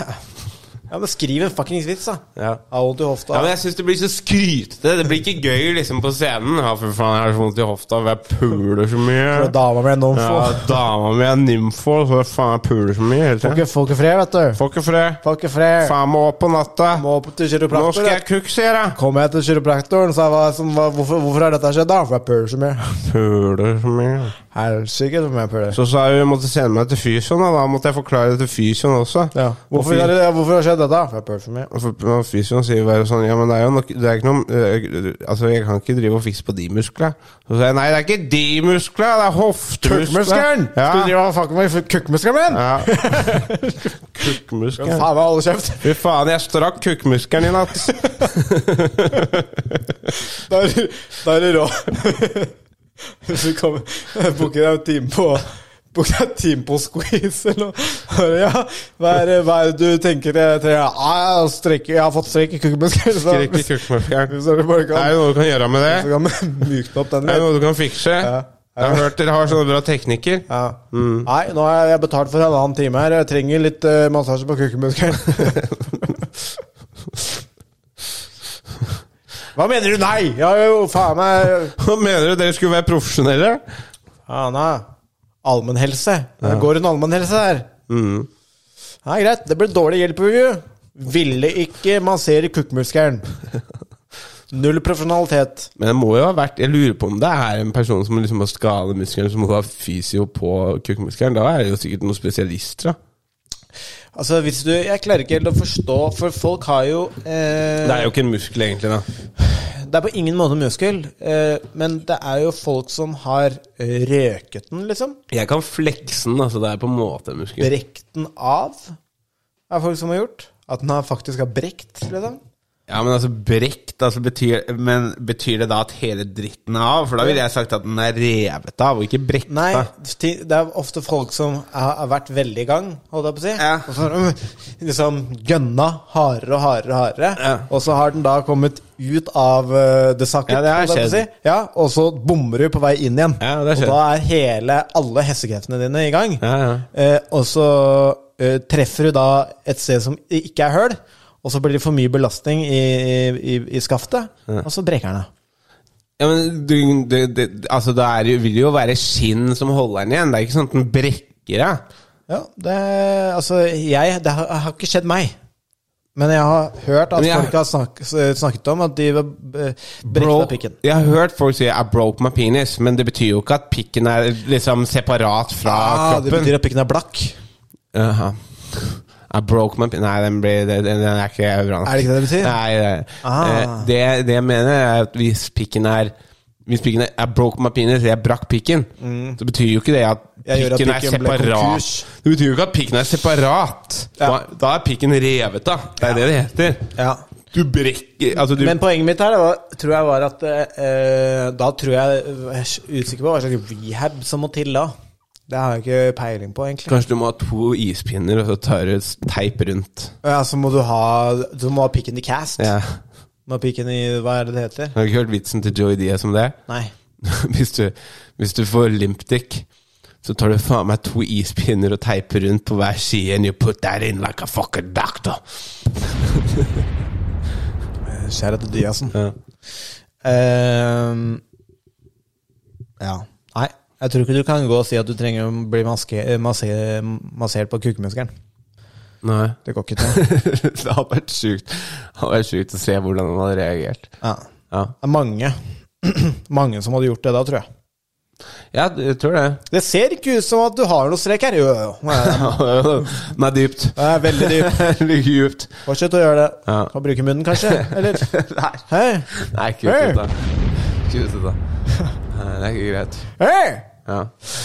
Speaker 1: Ja, men skriv en fuckings vits, da.
Speaker 2: Ja.
Speaker 1: Har vondt i hofta.
Speaker 2: Ja, men jeg syns det blir så skrytete. Det blir ikke gøy liksom på scenen. Ja, for faen, jeg har så vondt i hofta, for jeg puler så mye.
Speaker 1: For dama ble noen
Speaker 2: Ja,
Speaker 1: få.
Speaker 2: dama mi er nymfo, for faen, jeg puler så mye hele
Speaker 1: Får
Speaker 2: tiden.
Speaker 1: ikke- Får ikke fred, vet du.
Speaker 2: Får ikke fred.
Speaker 1: Får ikke fred.
Speaker 2: Faen må opp på natta.
Speaker 1: Må opp til kiropraktor.
Speaker 2: Nå skal jeg
Speaker 1: da.
Speaker 2: kuksere!
Speaker 1: Kom jeg til kiropraktoren, sa jeg hva som var- hvorfor, hvorfor har dette skjedd, da? For jeg puler så mye.
Speaker 2: Puler så mye.
Speaker 1: Helsike, så mye jeg puler.
Speaker 2: Så sa hun hun måtte sende meg til fysioen, og da måtte jeg forklare det til fysioen også.
Speaker 1: Ja. Hvorfor,
Speaker 2: Og fy-
Speaker 1: har det- hvorfor har det skjedd dette? For jeg puler for mye.
Speaker 2: Og for- og Fysioen sier bare sånn Ja, men det er jo nok Det er ikke noe øh, Altså, jeg kan ikke drive og fikse på de musklene. Så sier jeg nei, det er ikke de musklene, det er hoftemusklene.
Speaker 1: Kukkmuskelen! Skal du drive og fucke med kukkmuskelen min?
Speaker 2: Ja.
Speaker 1: Faen,
Speaker 2: Kukkmuskelen.
Speaker 1: jeg holder kjeft.
Speaker 2: Fy faen, jeg strakk kukkmuskelen i natt.
Speaker 1: Da er du- da er du rå. Hvis du kommer Booker deg en time på Booker deg en time på squeeze eller noe. Bare, Ja, hva er, det- hva er det du tenker det til? Ja, ah, strekke, jeg har fått strekk i kukkmuskelen. så-
Speaker 2: Skrekk i kukkmuskelen.
Speaker 1: Hvis dere bare
Speaker 2: Det er
Speaker 1: kan,
Speaker 2: jo noe du kan gjøre med
Speaker 1: så
Speaker 2: det.
Speaker 1: kan man mykne opp den
Speaker 2: Det er
Speaker 1: litt.
Speaker 2: jo noe du kan fikse. Jeg har hørt dere har sånne bra teknikker.
Speaker 1: Ja.
Speaker 2: Mm.
Speaker 1: Nei, nå har jeg betalt for en annen time her. Jeg trenger litt eh, massasje på kukkmuskelen. Hva mener du nei? Jeg har jo faen meg
Speaker 2: Hva mener du? Dere skulle være profesjonelle?
Speaker 1: Ja, nei. Allmennhelse. Det går en allmennhelse der. Nei, greit. Det ble dårlig hjelpevue. Ville ikke massere kukkmuskelen. Null profesjonalitet.
Speaker 2: Men det må jo ha vært Jeg lurer på om det er en person som liksom har skademuskelen, som har fysio på kukkmuskelen. Da er det jo sikkert noen spesialister, da.
Speaker 1: Altså, hvis du Jeg klarer ikke helt å forstå, for folk har jo eh,
Speaker 2: Det er jo ikke en muskel, egentlig, da.
Speaker 1: Det er på ingen måte muskel, eh, men det er jo folk som har eh, røket den, liksom.
Speaker 2: Jeg kan flekse den, altså. Det er på en måte en muskel.
Speaker 1: Brekt den av. Det er folk som har gjort. At den har faktisk har brekt, liksom.
Speaker 2: Ja, men altså brekt, altså betyr Men betyr det da at hele dritten er av? For da ville jeg sagt at den er revet av, og ikke brekta.
Speaker 1: Nei, ti- det er ofte folk som har, har vært veldig i gang, holdt jeg på å si.
Speaker 2: Ja.
Speaker 1: Og så har de liksom gønna hardere og hardere og hardere.
Speaker 2: Ja.
Speaker 1: Og så har den da kommet ut av eh, det sakket,
Speaker 2: Ja, det har
Speaker 1: holdt jeg på å
Speaker 2: skjedd.
Speaker 1: si. Ja, og så bommer du på vei inn igjen.
Speaker 2: Ja, det har
Speaker 1: og
Speaker 2: skjedd.
Speaker 1: da er hele, alle hessekreftene dine i gang.
Speaker 2: Ja, ja.
Speaker 1: Eh, og så eh, treffer du da et sted som i- ikke er høl, og så blir det for mye belastning i, i, i, i skaftet, og så breker den av.
Speaker 2: Ja, men du, det, det, altså, det er, jo- vil jo være skinn som holder den igjen. Det er ikke sånn at den brekker av.
Speaker 1: Ja, det, altså, jeg, det har, har ikke skjedd meg. Men jeg har hørt at
Speaker 2: Men jeg-
Speaker 1: folk har snak, snakket om at de var, eh, brekket
Speaker 2: Bro-
Speaker 1: av pikken.
Speaker 2: Jeg har hørt folk si 'I broke my penis', men det betyr jo ikke at pikken er liksom separat fra
Speaker 1: Ah, det
Speaker 2: kroppen.
Speaker 1: betyr at pikken er blakk.
Speaker 2: Jaha. I broke my penis Nei, den, blir, den, den er ikke bra nok.
Speaker 1: Er det ikke det det betyr?
Speaker 2: Nei, det,
Speaker 1: Ah.
Speaker 2: eh, det, det jeg mener er at hvis pikken er hvis pikken er, I broke my penis, jeg brakk pikken, så betyr jo ikke det at
Speaker 1: Mm. Jeg gjør at
Speaker 2: pikken, er
Speaker 1: pikken ble
Speaker 2: separat.
Speaker 1: konkurs.
Speaker 2: Det betyr jo ikke at pikken er separat.
Speaker 1: Ja.
Speaker 2: Da, da er pikken revet av. Det er det det heter.
Speaker 1: Ja.
Speaker 2: Du brekker Altså, du
Speaker 1: Men poenget mitt her det var, tror jeg var at eh, Da tror jeg Jeg er usikker på hva slags rehab som må til da. Det har jeg ikke peiling på, egentlig.
Speaker 2: Kanskje du må ha to ispinner, og så tar du s- teip rundt.
Speaker 1: Ja, Så må du ha Du må ha pikken i cast.
Speaker 2: Ja.
Speaker 1: Må ha pikken i Hva er det det heter?
Speaker 2: Har du ikke hørt vitsen til Joey Diaz om det?
Speaker 1: Nei.
Speaker 2: Hvis du, hvis du får limpdick, så tar du faen meg to ispinner og teiper rundt på hver side, and you put that in like a fucking doctor.
Speaker 1: Kjære til Diasen.
Speaker 2: Ja.
Speaker 1: Ehm, ja. Nei, jeg tror ikke du kan gå og si at du trenger å bli maske, eh, masse, massert på kukemuskelen.
Speaker 2: Nei.
Speaker 1: Det går ikke til.
Speaker 2: det hadde vært sjukt. Det hadde vært sjukt å se hvordan han hadde reagert.
Speaker 1: Ja.
Speaker 2: Ja,
Speaker 1: Det er mange Mange som hadde gjort det da, tror jeg.
Speaker 2: ja jeg tror det.
Speaker 1: Det ser ikke ut som at du har noe strek her. Jo, jo, jo.
Speaker 2: Den er dypt.
Speaker 1: Det er veldig dypt.
Speaker 2: Det ligger djupt.
Speaker 1: Fortsett å gjøre det.
Speaker 2: Ja.
Speaker 1: Kan bruke munnen, kanskje? Eller?
Speaker 2: Nei.
Speaker 1: Hei!
Speaker 2: Nei, ikke
Speaker 1: Hey.
Speaker 2: ut da. Ikke ut da. Nei, det er ikke greit.
Speaker 1: Hei!
Speaker 2: Ja.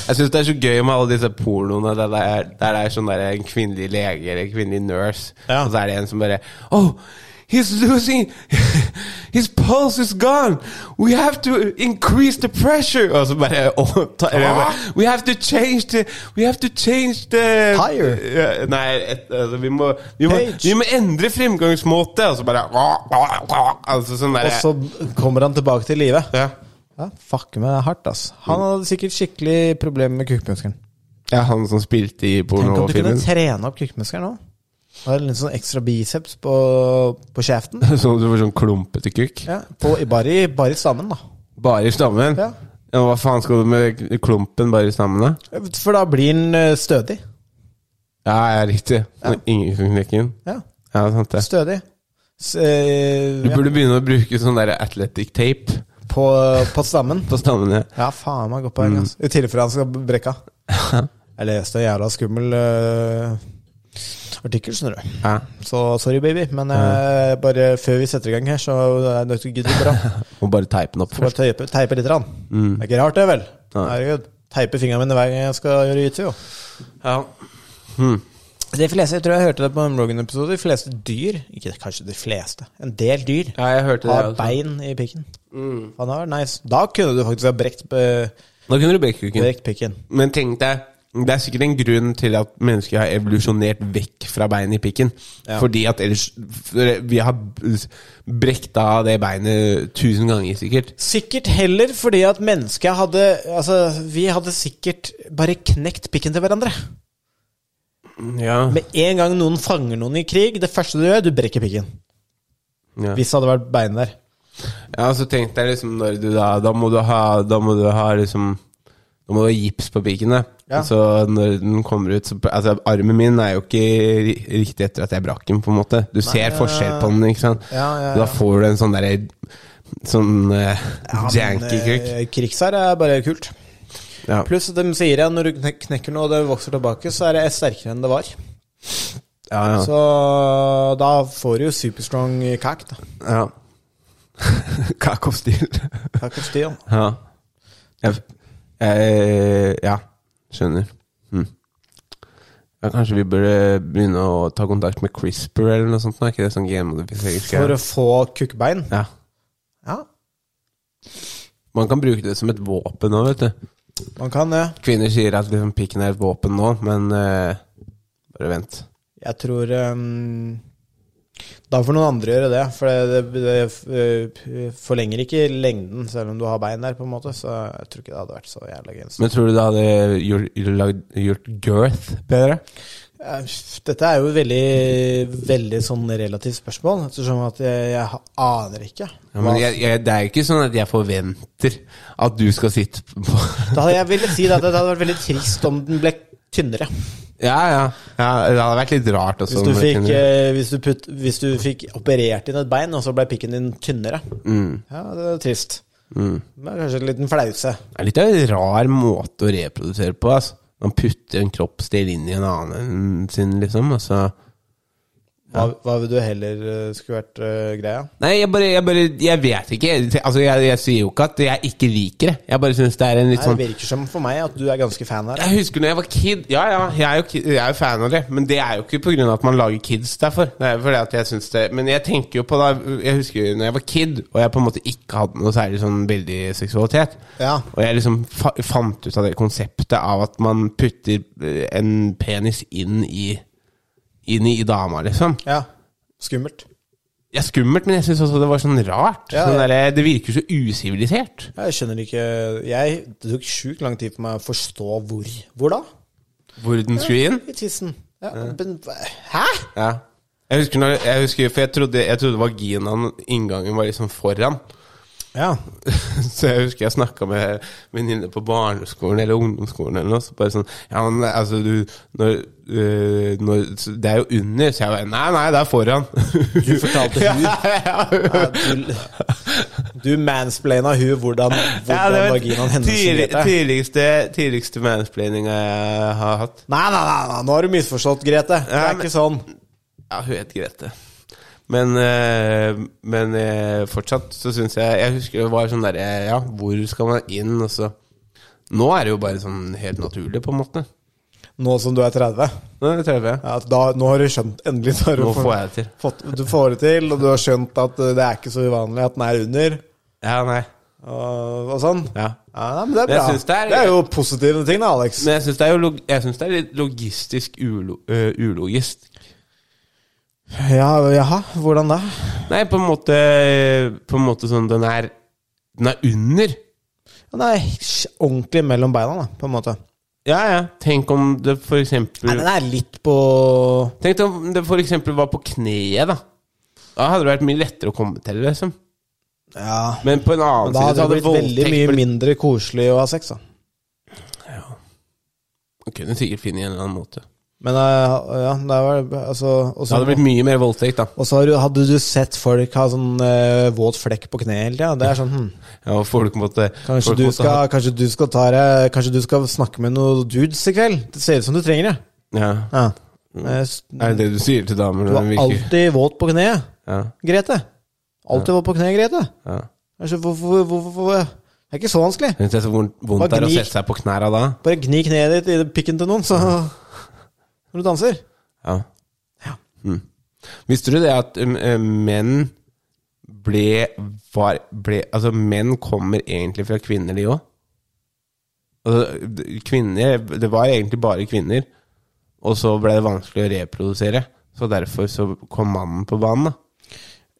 Speaker 2: Jeg syns det er så gøy med alle disse pornoene der det er, der det er sånn der en kvinnelig lege eller en kvinnelig nurse,
Speaker 1: Ja.
Speaker 2: og så er det en som bare Oh, he's losing His pulse is gone! We have to increase the pressure! Og så bare «Åh, ta, eller bare, We have to change the We have to change the
Speaker 1: Higher.
Speaker 2: Ja, Nei, et, altså, vi må vi må,
Speaker 1: Page.
Speaker 2: vi må endre fremgangsmåte! Og så bare «Åh, åh, åh», Altså sånn
Speaker 1: Og
Speaker 2: derre
Speaker 1: så kommer han tilbake til live.
Speaker 2: ja.
Speaker 1: Ja, fuck meg, det er hardt, ass. Han hadde sikkert skikkelig problemer med kukemuskelen.
Speaker 2: ja, han som spilte i
Speaker 1: Tenk om du
Speaker 2: pornofilmen.
Speaker 1: kunne trene opp kukemuskelen nå. Da er det litt sånn ekstra biceps på, på kjeften.
Speaker 2: Sånn at du får sånn klumpete kukk.
Speaker 1: Ja, på, bare, i, bare i stammen, da.
Speaker 2: Bare i stammen?
Speaker 1: Ja.
Speaker 2: Ja, Hva faen skal du med klumpen bare i stammen, da?
Speaker 1: For da blir den eh, stødig.
Speaker 2: Ja, ja, riktig. Men Ingen kan knekke den.
Speaker 1: Ja,
Speaker 2: Ja, sant det.
Speaker 1: stødig. S eh,
Speaker 2: Du
Speaker 1: ja,
Speaker 2: burde begynne å bruke sånn der athletic tape
Speaker 1: på, på stammen.
Speaker 2: på stammene.
Speaker 1: Ja, faen meg godt poeng. Mm. I tilfelle han skal brekke av. Jeg leste en jævla skummel eh, artikkel, skjønner du.
Speaker 2: Ja.
Speaker 1: Så sorry, baby, men eh, bare før vi setter i gang her, så eh, er det nødt til å gidde bra.
Speaker 2: Og bare teipe den opp
Speaker 1: Bare
Speaker 2: først.
Speaker 1: teipe, teipe litt. Rann. Det er ikke rart, det, vel?
Speaker 2: Mm. Nei.
Speaker 1: Herregud. Teipe fingrene mine hver gang jeg skal gjøre jitsu. jo.
Speaker 2: Ja.
Speaker 1: De fleste, jeg tror jeg hørte det på en Rogan-episode, de fleste dyr Ikke kanskje de fleste, en del dyr
Speaker 2: ja, jeg hørte det. altså. Mm.
Speaker 1: har
Speaker 2: også.
Speaker 1: bein i pikken. Faen, det var nice. Da kunne du faktisk ha brekt, eh,
Speaker 2: Da kunne du brekke kukken.
Speaker 1: brekt pikken.
Speaker 2: Men tenk deg, det er sikkert en grunn til at mennesker har evolusjonert vekk fra beinet i pikken.
Speaker 1: Ja.
Speaker 2: Fordi at ellers Vi har brekt av det beinet tusen ganger, sikkert.
Speaker 1: Sikkert heller fordi at mennesket hadde Altså, vi hadde sikkert bare knekt pikken til hverandre.
Speaker 2: Ja.
Speaker 1: Med en gang noen fanger noen i krig, det første du gjør, du brekker pikken.
Speaker 2: ja.
Speaker 1: Hvis det hadde vært bein der.
Speaker 2: Ja, så tenk deg liksom når du da Da må du ha, da må du ha liksom Da må du ha gips på piken, da.
Speaker 1: Ja.
Speaker 2: Så når den kommer ut så, Altså, armen min er jo ikke ri- riktig etter at jeg brakk den, på en måte. Du ser forskjell på den, ikke sant?
Speaker 1: Ja, ja, ja.
Speaker 2: Da får du en sånn derre Sånn eh, janky kukk.
Speaker 1: eh, Krigsherr er bare kult.
Speaker 2: Ja.
Speaker 1: eh, Pluss at de sier at når du knek- knekker noe og det vokser tilbake, så er det sterkere enn det var.
Speaker 2: Ja, ja.
Speaker 1: Så da får du jo superstrong kakk, da.
Speaker 2: ja. Cock of steel.
Speaker 1: Kakk og steel.
Speaker 2: ja. Jeg, jeg, ja. Skjønner. Mm. Ja, kanskje vi burde begynne å ta kontakt med CRISPR eller noe sånt? nå? Er ikke det sånn
Speaker 1: For
Speaker 2: genmodifiseringsgreier?
Speaker 1: å få kukkbein.
Speaker 2: Ja.
Speaker 1: Ja,
Speaker 2: Man kan bruke det som et våpen nå, vet du.
Speaker 1: man kan det.
Speaker 2: Kvinner sier at liksom, pikken er et våpen nå, men eh, bare vent.
Speaker 1: Jeg tror ehm, Da får noen andre gjøre det, for det, det, det eh, forlenger ikke lengden, selv om du har bein der, på en måte. Så jeg tror ikke det hadde vært så jævla gøy.
Speaker 2: Men tror du det hadde gjort, lagd, gjort girth bedre?
Speaker 1: Eh, Dette er jo et veldig, veldig sånn relativt spørsmål, ettersom at jeg, jeg ha- aner ikke.
Speaker 2: Ja, men
Speaker 1: hva-
Speaker 2: jeg, jeg, det er jo ikke sånn at jeg forventer at du skal sitte på
Speaker 1: Da hadde jeg ville si at det hadde vært veldig trist om den ble tynnere.
Speaker 2: Ja, ja. ja det hadde vært litt rart også.
Speaker 1: Hvis du,
Speaker 2: om det
Speaker 1: fikk,
Speaker 2: kunne-
Speaker 1: eh, hvis, du putt, hvis du fikk operert inn et bein, og så ble pikken din tynnere.
Speaker 2: Mm.
Speaker 1: Ja, det er trist. Det er kanskje en liten flause.
Speaker 2: Det er litt av en rar måte å reprodusere på. Altså. Man putter en kroppsdel inn i en annen sin, liksom. Altså.
Speaker 1: Hva, hva vil du heller eh, skulle vært eh, greia?
Speaker 2: Nei, jeg bare, jeg bare Jeg vet ikke. Altså, jeg, jeg sier jo ikke at jeg ikke liker det. Jeg bare syns det er en litt
Speaker 1: Nei,
Speaker 2: sånn
Speaker 1: det virker som for meg at du er ganske fan her.
Speaker 2: Jeg husker når jeg var kid. Ja, ja, jeg er jo, kid, jeg er jo fan av det. Men det er jo ikke på grunn av at man lager kids derfor. Det er jo fordi at jeg synes det Men jeg tenker jo på da Jeg husker jo når jeg var kid, og jeg på en måte ikke hadde noe særlig sånn veldig seksualitet.
Speaker 1: Ja.
Speaker 2: Og jeg liksom fa fant ut av det konseptet av at man putter eh, en penis inn i Inn i dama, liksom.
Speaker 1: Ja. Skummelt.
Speaker 2: Det er skummelt, men jeg syns også det var sånn rart.
Speaker 1: Ja,
Speaker 2: Sånn
Speaker 1: ja.
Speaker 2: derre- det virker så usivilisert.
Speaker 1: Jeg skjønner ikke jeg, Det tok sjukt lang tid for meg å forstå hvor. Hvor da?
Speaker 2: Hvor den skulle inn.
Speaker 1: I tissen. Ja, men, hæ?
Speaker 2: Ja. Jeg husker, når, jeg husker For jeg trodde, jeg trodde vaginaen, inngangen, var liksom foran.
Speaker 1: Ja.
Speaker 2: Så jeg husker jeg snakka med venninner på barneskolen eller ungdomsskolen eller noe. Så bare sånn Ja, men altså, du når, øh, når, så Det er jo under, så jeg bare Nei, nei, det er foran.
Speaker 1: Du fortalte
Speaker 2: ja,
Speaker 1: hun
Speaker 2: ja.
Speaker 1: ja, Du, du mansplaina hun hvordan,
Speaker 2: Ja,
Speaker 1: hvordan
Speaker 2: var
Speaker 1: vaginaen hennes
Speaker 2: tidlig,
Speaker 1: Grete.
Speaker 2: tidligste, tidligste mansplaininga jeg har hatt.
Speaker 1: Nei, nei, nei, nei, nå har du misforstått, Grete. Det
Speaker 2: Ja,
Speaker 1: er
Speaker 2: men-
Speaker 1: ikke sånn.
Speaker 2: Ja, hun het Grete. Men, eh, men eh, fortsatt så syns jeg Jeg husker det var sånn derre Ja, hvor skal man inn? Og så Nå er det jo bare sånn helt naturlig, på en måte.
Speaker 1: Nå som du er 30.
Speaker 2: Nå er det 30.
Speaker 1: Ja, at da, nå har du skjønt Endelig så har du
Speaker 2: Nå
Speaker 1: fått-
Speaker 2: får jeg det til.
Speaker 1: Fått, du får det til, og du har skjønt at eh, det er ikke så uvanlig at den er under,
Speaker 2: Ja, nei.
Speaker 1: og, og sånn.
Speaker 2: Ja.
Speaker 1: Ja, men det er
Speaker 2: Men jeg
Speaker 1: bra.
Speaker 2: synes det er-
Speaker 1: jo positive ting, da, Alex.
Speaker 2: Men jeg syns det, er jo log- jeg synes det er litt logistisk ulo, øh, ulogisk.
Speaker 1: Ja, jaha, hvordan da?
Speaker 2: Nei, på en måte På en måte sånn den er Den er under.
Speaker 1: Den er ordentlig mellom beina, da, på en måte.
Speaker 2: Ja, ja. Tenk om det for eksempel
Speaker 1: Nei, den er litt på
Speaker 2: Tenk om det for eksempel var på kneet, da. Da hadde det vært mye lettere å komme til, liksom.
Speaker 1: Ja.
Speaker 2: Men på en annen
Speaker 1: Men da
Speaker 2: side
Speaker 1: hadde
Speaker 2: så
Speaker 1: det blitt veldig mye mindre koselig å ha sex, da.
Speaker 2: Man kunne sikkert finne en eller annen måte.
Speaker 1: Men eh, ja, det var altså og
Speaker 2: Det
Speaker 1: så-
Speaker 2: hadde blitt mye mer voldtekt, da.
Speaker 1: Og så har du- hadde du sett folk ha sånn eh, våt flekk på kneet hele tida. Det er sånn hm,
Speaker 2: Ja, og folk måtte
Speaker 1: kanskje,
Speaker 2: folk
Speaker 1: du
Speaker 2: måtte ha-
Speaker 1: skal, kanskje du skal ta deg Kanskje du skal snakke med noen dudes i kveld? Det ser ut som du trenger det.
Speaker 2: Ja.
Speaker 1: Ja. Eh, s-
Speaker 2: Mm. Er det det du sier til damer?
Speaker 1: Du
Speaker 2: når
Speaker 1: var
Speaker 2: de virker?
Speaker 1: alltid våt på kneet,
Speaker 2: Ja,
Speaker 1: Grete. Alltid våt på kneet, Grete.
Speaker 2: ja.
Speaker 1: Altså, hvorfor, hvorfor, hvorfor Det er ikke så
Speaker 2: Jeg
Speaker 1: vanskelig.
Speaker 2: synes det er så vondt, vondt
Speaker 1: Bare
Speaker 2: det er å
Speaker 1: gni.
Speaker 2: sette seg på knærne da.
Speaker 1: Bare gni kneet ditt i pikken til noen, så Når du danser.
Speaker 2: Ja. Mm. Visste du det at um, eh, menn ble, var, ble Altså, menn kommer egentlig fra kvinner, de òg. Altså, d- kvinner Det var egentlig bare kvinner, og så ble det vanskelig å reprodusere. Så derfor så kom mannen på banen, da.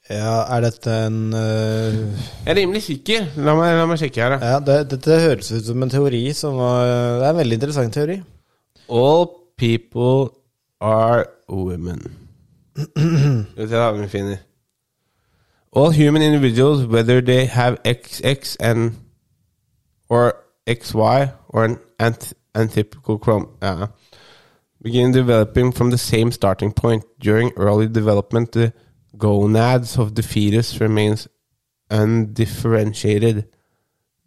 Speaker 1: Ja, er dette en eh,
Speaker 2: Jeg er rimelig sikker. La meg, la meg sjekke her, da.
Speaker 1: Ja, det, dette høres ut som en teori som var Det er en veldig interessant teori.
Speaker 2: All people are women. Skal vi se hva vi finner. All human individuals, whether they have XX and or XY or an anth antithetical chrome, uh, begin developing from the same starting point. During early development, the gonads of the fetus remains undifferentiated.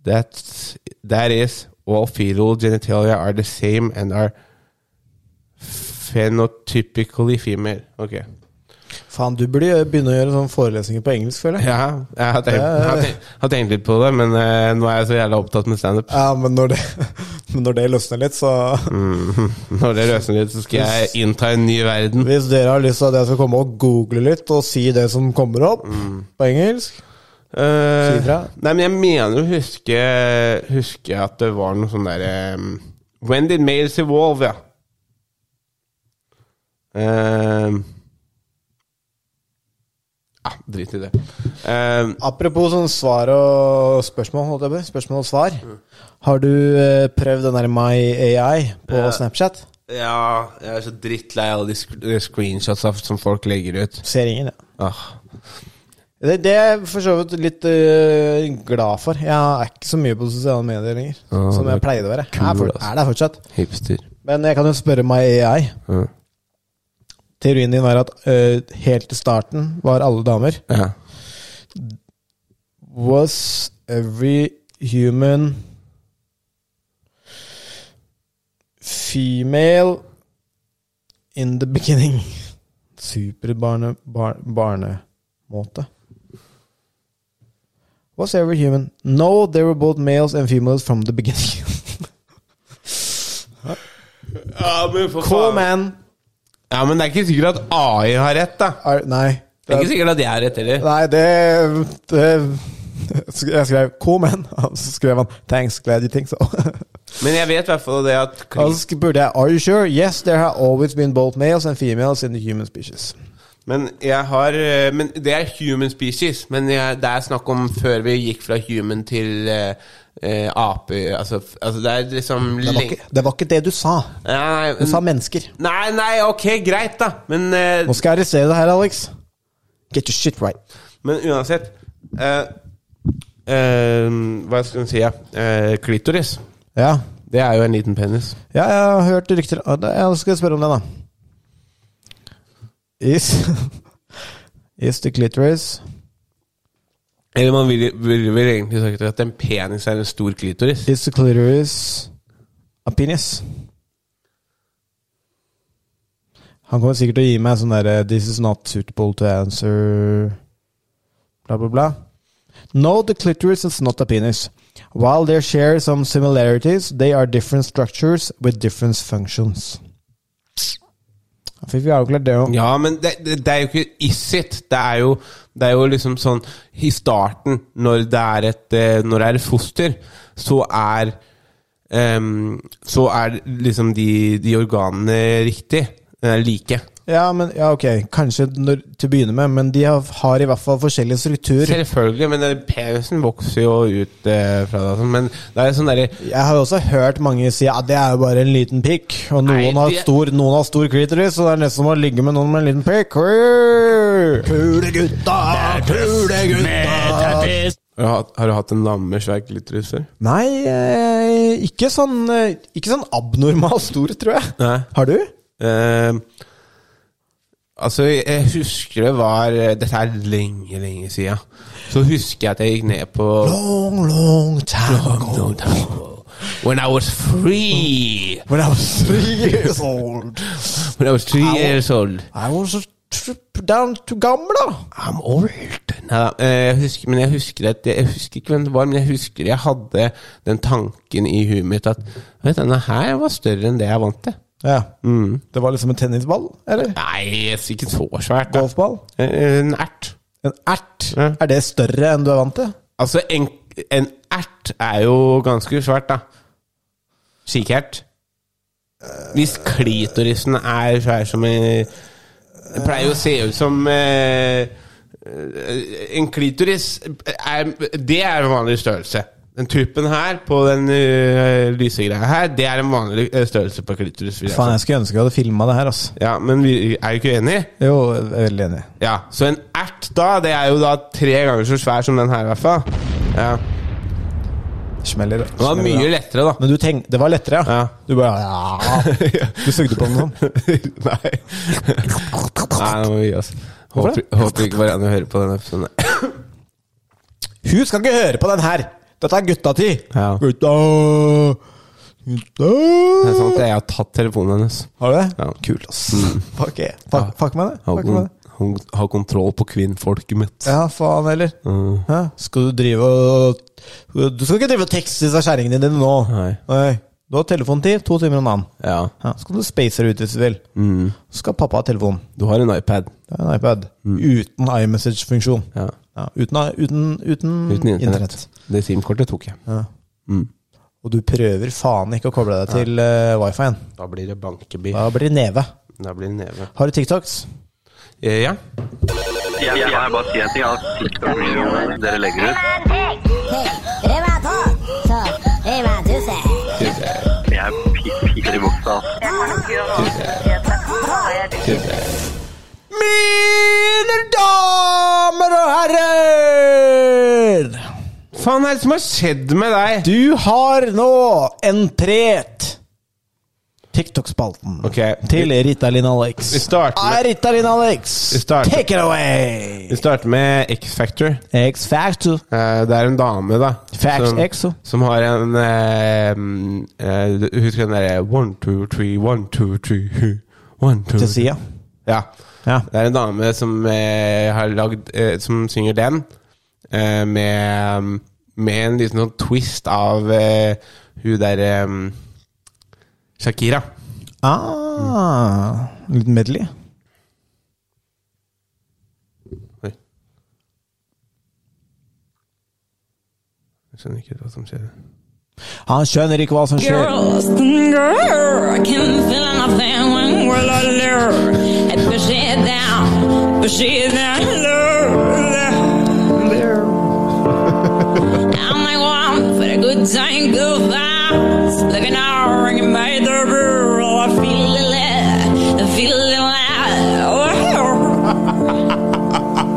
Speaker 2: That's that is all fetal genitalia are the same and are phenotypically female. Ok.
Speaker 1: Faen, du burde jo begynne å gjøre sånne forelesninger på engelsk, føler jeg.
Speaker 2: Ja, jeg har tenkt, jeg har tenkt, jeg har tenkt litt på det, men eh, nå er jeg så jævla opptatt med standup.
Speaker 1: Ja, men når det, men når det løsner litt, så
Speaker 2: Når det løsner litt, så skal jeg innta en ny verden.
Speaker 1: Hvis dere har lyst til at jeg skal komme og google litt og si det som kommer opp på engelsk
Speaker 2: Eh,
Speaker 1: Si ifra.
Speaker 2: nei, men jeg mener å huske, huske at det var noe sånn derre When did males evolve, ja. Eh, ja, drit i det. Eh,
Speaker 1: Apropos sånn svar og spørsmål, holdt jeg på. å si. spørsmål og svar. Har du eh, prøvd den der My AI på Snapchat?
Speaker 2: ja, jeg er så drittlei av de sk screenshotsa som folk legger ut.
Speaker 1: Ser ingen, ja.
Speaker 2: Ah.
Speaker 1: Det, det er jeg for så vidt litt eh, glad for. Jeg er ikke så mye på sosiale medier lenger,
Speaker 2: Ah,
Speaker 1: som
Speaker 2: det
Speaker 1: jeg
Speaker 2: er
Speaker 1: pleide å være. Jeg er,
Speaker 2: kul,
Speaker 1: for,
Speaker 2: altså.
Speaker 1: er der fortsatt.
Speaker 2: Hipster.
Speaker 1: Men jeg kan jo spørre My AI.
Speaker 2: Mm.
Speaker 1: Teorien din var at eh, helt til starten var alle damer.
Speaker 2: Ja.
Speaker 1: Was every human female in the beginning? Superbarne... Bar, barnemåte. Was every human? No, they were both males and females from the beginning.
Speaker 2: men
Speaker 1: Cool man!
Speaker 2: Ja, men det er ikke sikkert at AI har rett, da.
Speaker 1: Ar, nei.
Speaker 2: Det er ikke sikkert at jeg har rett heller.
Speaker 1: Nei, det, det Jeg skrev 'cool man', og så skrev han 'thanks, glad you think so'.
Speaker 2: Men jeg vet i hvert fall det at
Speaker 1: Og så burde jeg Are you sure? Yes, there have always been both males and females in the human species.
Speaker 2: Men jeg har eh, Men det er human species. Men jeg, det er snakk om før vi gikk fra human til eh, eh, aper altså, f- altså det er liksom
Speaker 1: Det var,
Speaker 2: leng-
Speaker 1: ikke, det var ikke det du sa.
Speaker 2: Nei,
Speaker 1: Du sa
Speaker 2: men-
Speaker 1: mennesker.
Speaker 2: Nei, nei, ok, greit, da. Men, eh,
Speaker 1: Nå skal jeg arrestere deg her, Alex. Get your shit right.
Speaker 2: men uansett eh, eh, Hva skal vi si? Ja? Eh, klitoris.
Speaker 1: Ja,
Speaker 2: Det er jo en liten penis.
Speaker 1: ja jeg har hørt rykter Ja, da- Jeg skal spørre om det, da. Is Is the clitoris
Speaker 2: Eller man ville vil, vil egentlig sagt at en penis er en stor klitoris.
Speaker 1: Is the clitoris a penis? Han kommer sikkert til å gi meg sånn derre This is not suitable to answer Bla, bla, bla. No, the clitoris is not a penis. While they share some similarities, they are different structures with different functions. Da Fikk vi avklart det òg.
Speaker 2: Ja, men det, det, det er jo ikke is it. Det er jo, det er jo liksom sånn I starten, når det er et, eh, når det er et foster, så er ehm, em, Så er liksom de, de organene riktig. eh, Like.
Speaker 1: Ja, men, ja, ok, kanskje når, til å begynne med, men de har, har i hvert fall forskjellig struktur.
Speaker 2: Selvfølgelig, men eh, penisen vokser jo ut eh, fra deg. og sånn, Men det er sånn derre
Speaker 1: Jeg har jo også hørt mange si ja, det er jo bare en liten pikk, og noen,
Speaker 2: Nei,
Speaker 1: har
Speaker 2: det-
Speaker 1: stor, noen har stor klitoris, så det er nesten som å ligge med noen med en liten pikk. Kule gutta, kule gutta.
Speaker 2: har, du hatt- har du hatt en dame med svær klitoris før?
Speaker 1: Nei, eh, ikke sånn, eh, ikke sånn abnormal stor, tror jeg.
Speaker 2: Nei.
Speaker 1: Har du?
Speaker 2: Eh, altså, jeg husker det var eh, Dette er lenge, lenge siden. Så husker jeg at jeg gikk ned på
Speaker 1: Long, long time ago.
Speaker 2: When I was free
Speaker 1: When I was three years old,
Speaker 2: When I was three years old
Speaker 1: I was a trip down to Gamla.
Speaker 2: I'm old Neida, eh, jeg husker, Men jeg husker at Jeg husker ikke hvem det var Men jeg husker jeg hadde Den tanken i huet mitt At Vet du, denne her var større enn det jeg vant til
Speaker 1: Ja.
Speaker 2: Mm.
Speaker 1: Det var liksom en tennisball, eller?
Speaker 2: Nei, jeg er ikke så svært da.
Speaker 1: Golfball?
Speaker 2: Eh, En ert
Speaker 1: En ert?
Speaker 2: Ja.
Speaker 1: Er det større enn du er vant til?
Speaker 2: Altså en, en ert er jo ganske svært da Kikert Hvis klitorisen er svær som en Det pleier jo å se ut som eh, eh, En klitoris er, Det er en vanlig størrelse Den tuppen her På den eh, lyse greia her Det er en vanlig eh, størrelse på klitoris vil jeg
Speaker 1: Faen,
Speaker 2: si.
Speaker 1: jeg skulle ønske jeg hadde filma det her, altså.
Speaker 2: Ja, men vi er jo ikke enige
Speaker 1: Jo, jeg er veldig enig.
Speaker 2: ja, så en ert da, det er jo da tre ganger så svær som den her i hvert fall. Ja.
Speaker 1: Smeller.
Speaker 2: Det var
Speaker 1: smeller,
Speaker 2: mye
Speaker 1: da.
Speaker 2: lettere da.
Speaker 1: Men du tenk, det var lettere, ja?
Speaker 2: Ja.
Speaker 1: Du bare ja. Du sugde på den sånn?
Speaker 2: Nei. Nei, nå må vi gi oss. Håper, håper ikke Marianne hører på denne episoden.
Speaker 1: Hun skal ikke høre på den her! Dette er gutta ti!
Speaker 2: Ja.
Speaker 1: Gutta Gutta
Speaker 2: Det er sant, jeg har tatt telefonen hennes.
Speaker 1: Har du det?
Speaker 2: Ja.
Speaker 1: Kult, ass. Fuck, yeah. fuck, fuck med det.
Speaker 2: Ha,
Speaker 1: Fuck med det.
Speaker 2: kon- ha kontroll på kvinnfolket mitt.
Speaker 1: Ja, faen heller.
Speaker 2: Mm.
Speaker 1: Hæ? Skal du drive og Du skal ikke drive og tekste disse kjerringene dine nå.
Speaker 2: Nei.
Speaker 1: Du har telefontid, to timer om dagen.
Speaker 2: Ja. Mm.
Speaker 1: Ja, så kan du space det ut hvis du vil. Så skal pappa ha telefon.
Speaker 2: Du har en iPad.
Speaker 1: Det er en iPad. Uten iMessage-funksjon.
Speaker 2: Mm. Ja.
Speaker 1: Ja, uten, uten, uten,
Speaker 2: Uten internett.
Speaker 1: Mm, internett.
Speaker 2: Det SIM-kortet tok jeg.
Speaker 1: Og du prøver faen ikke å koble deg til uh, wifi-en.
Speaker 2: Da blir det bankeby.
Speaker 1: Da blir det neve.
Speaker 2: Da blir det neve.
Speaker 1: Har du TikToks?
Speaker 2: Eh, Ja.
Speaker 7: Jeg, jeg kan bare si en ting. Altså, TikTok-videoene dere legger ut Jeg er pi- piker i buksa. altså.
Speaker 1: Mine damer og herrer!
Speaker 2: Faen, hva er det som har skjedd med deg?
Speaker 1: Du har nå entret TikTok-spalten
Speaker 2: Ok.
Speaker 1: til Ritalin Alex.
Speaker 2: Vi starter med-
Speaker 1: Ah, Ritalin Alex,
Speaker 2: Vi starter-
Speaker 1: take it away!
Speaker 2: Vi starter med X-Factor.
Speaker 1: X-Factor.
Speaker 2: Eh, Det er en dame, da.
Speaker 1: Facts Exo.
Speaker 2: som har en eh, mm, eh, Husker den derre One, two, three, one, two, three hu, One, two,
Speaker 1: Til sida.
Speaker 2: Ja.
Speaker 1: Ja.
Speaker 2: Det er en dame som eh, har lagd eh, Som synger den, eh, med, med en liten sånn twist av eh, hun derre mm, Shakira.
Speaker 1: Ah, litt medley.
Speaker 2: Oi. Jeg skjønner ikke hva som skjer.
Speaker 1: Han skjønner ikke hva som skjer.
Speaker 8: Girls, girl, I can feel nothing when we're alone. And push it down, push it down low. I'm like one for a good time, good vibes. Looking out, ringing by the girl. I feel it, I feel it loud.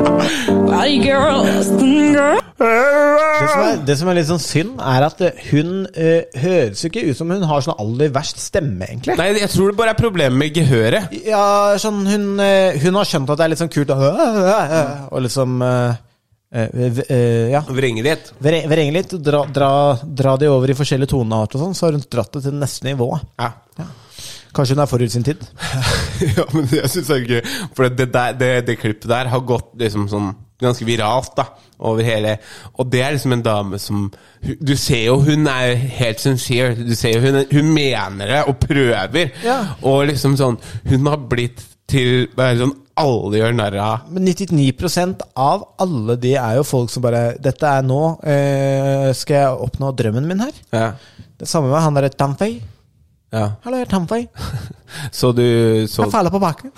Speaker 8: Oh. Body girls, girl.
Speaker 1: Det som, er, det som er litt sånn synd, er at eh, hun eh, høres jo ikke ut som hun har sånn aller verst stemme, egentlig.
Speaker 2: Nei, jeg tror det bare er problemet med gehøret.
Speaker 1: Ja, sånn, hun, eh, hun har skjønt at det er litt sånn kult å Og liksom eh, eh, v- eh, Ja.
Speaker 2: Vrengelighet.
Speaker 1: Vre- Vrenge litt, dra, dra, dra de over i forskjellige tonearter og sånn, så har hun dratt det til neste nivå.
Speaker 2: Ja.
Speaker 1: Kanskje hun er forut sin tid.
Speaker 2: Ja, men det syns jeg er gøy. For det, der, det, det klippet der har gått liksom sånn ganske viralt da over hele Og det er liksom en dame som hu- Du ser jo hun er helt sincere. Du ser jo hun, hun mener det og prøver.
Speaker 1: Ja.
Speaker 2: Og liksom sånn Hun har blitt til bare sånn alle gjør narr av.
Speaker 1: Men 99 av alle de er jo folk som bare 'Dette er nå. Eh, skal jeg oppnå drømmen min her?'
Speaker 2: Ja.
Speaker 1: Det samme med han derre Tamfei.
Speaker 2: ja.
Speaker 1: Hallo, jeg er Tamfei.
Speaker 2: Så du så,
Speaker 1: Jeg faller på baken.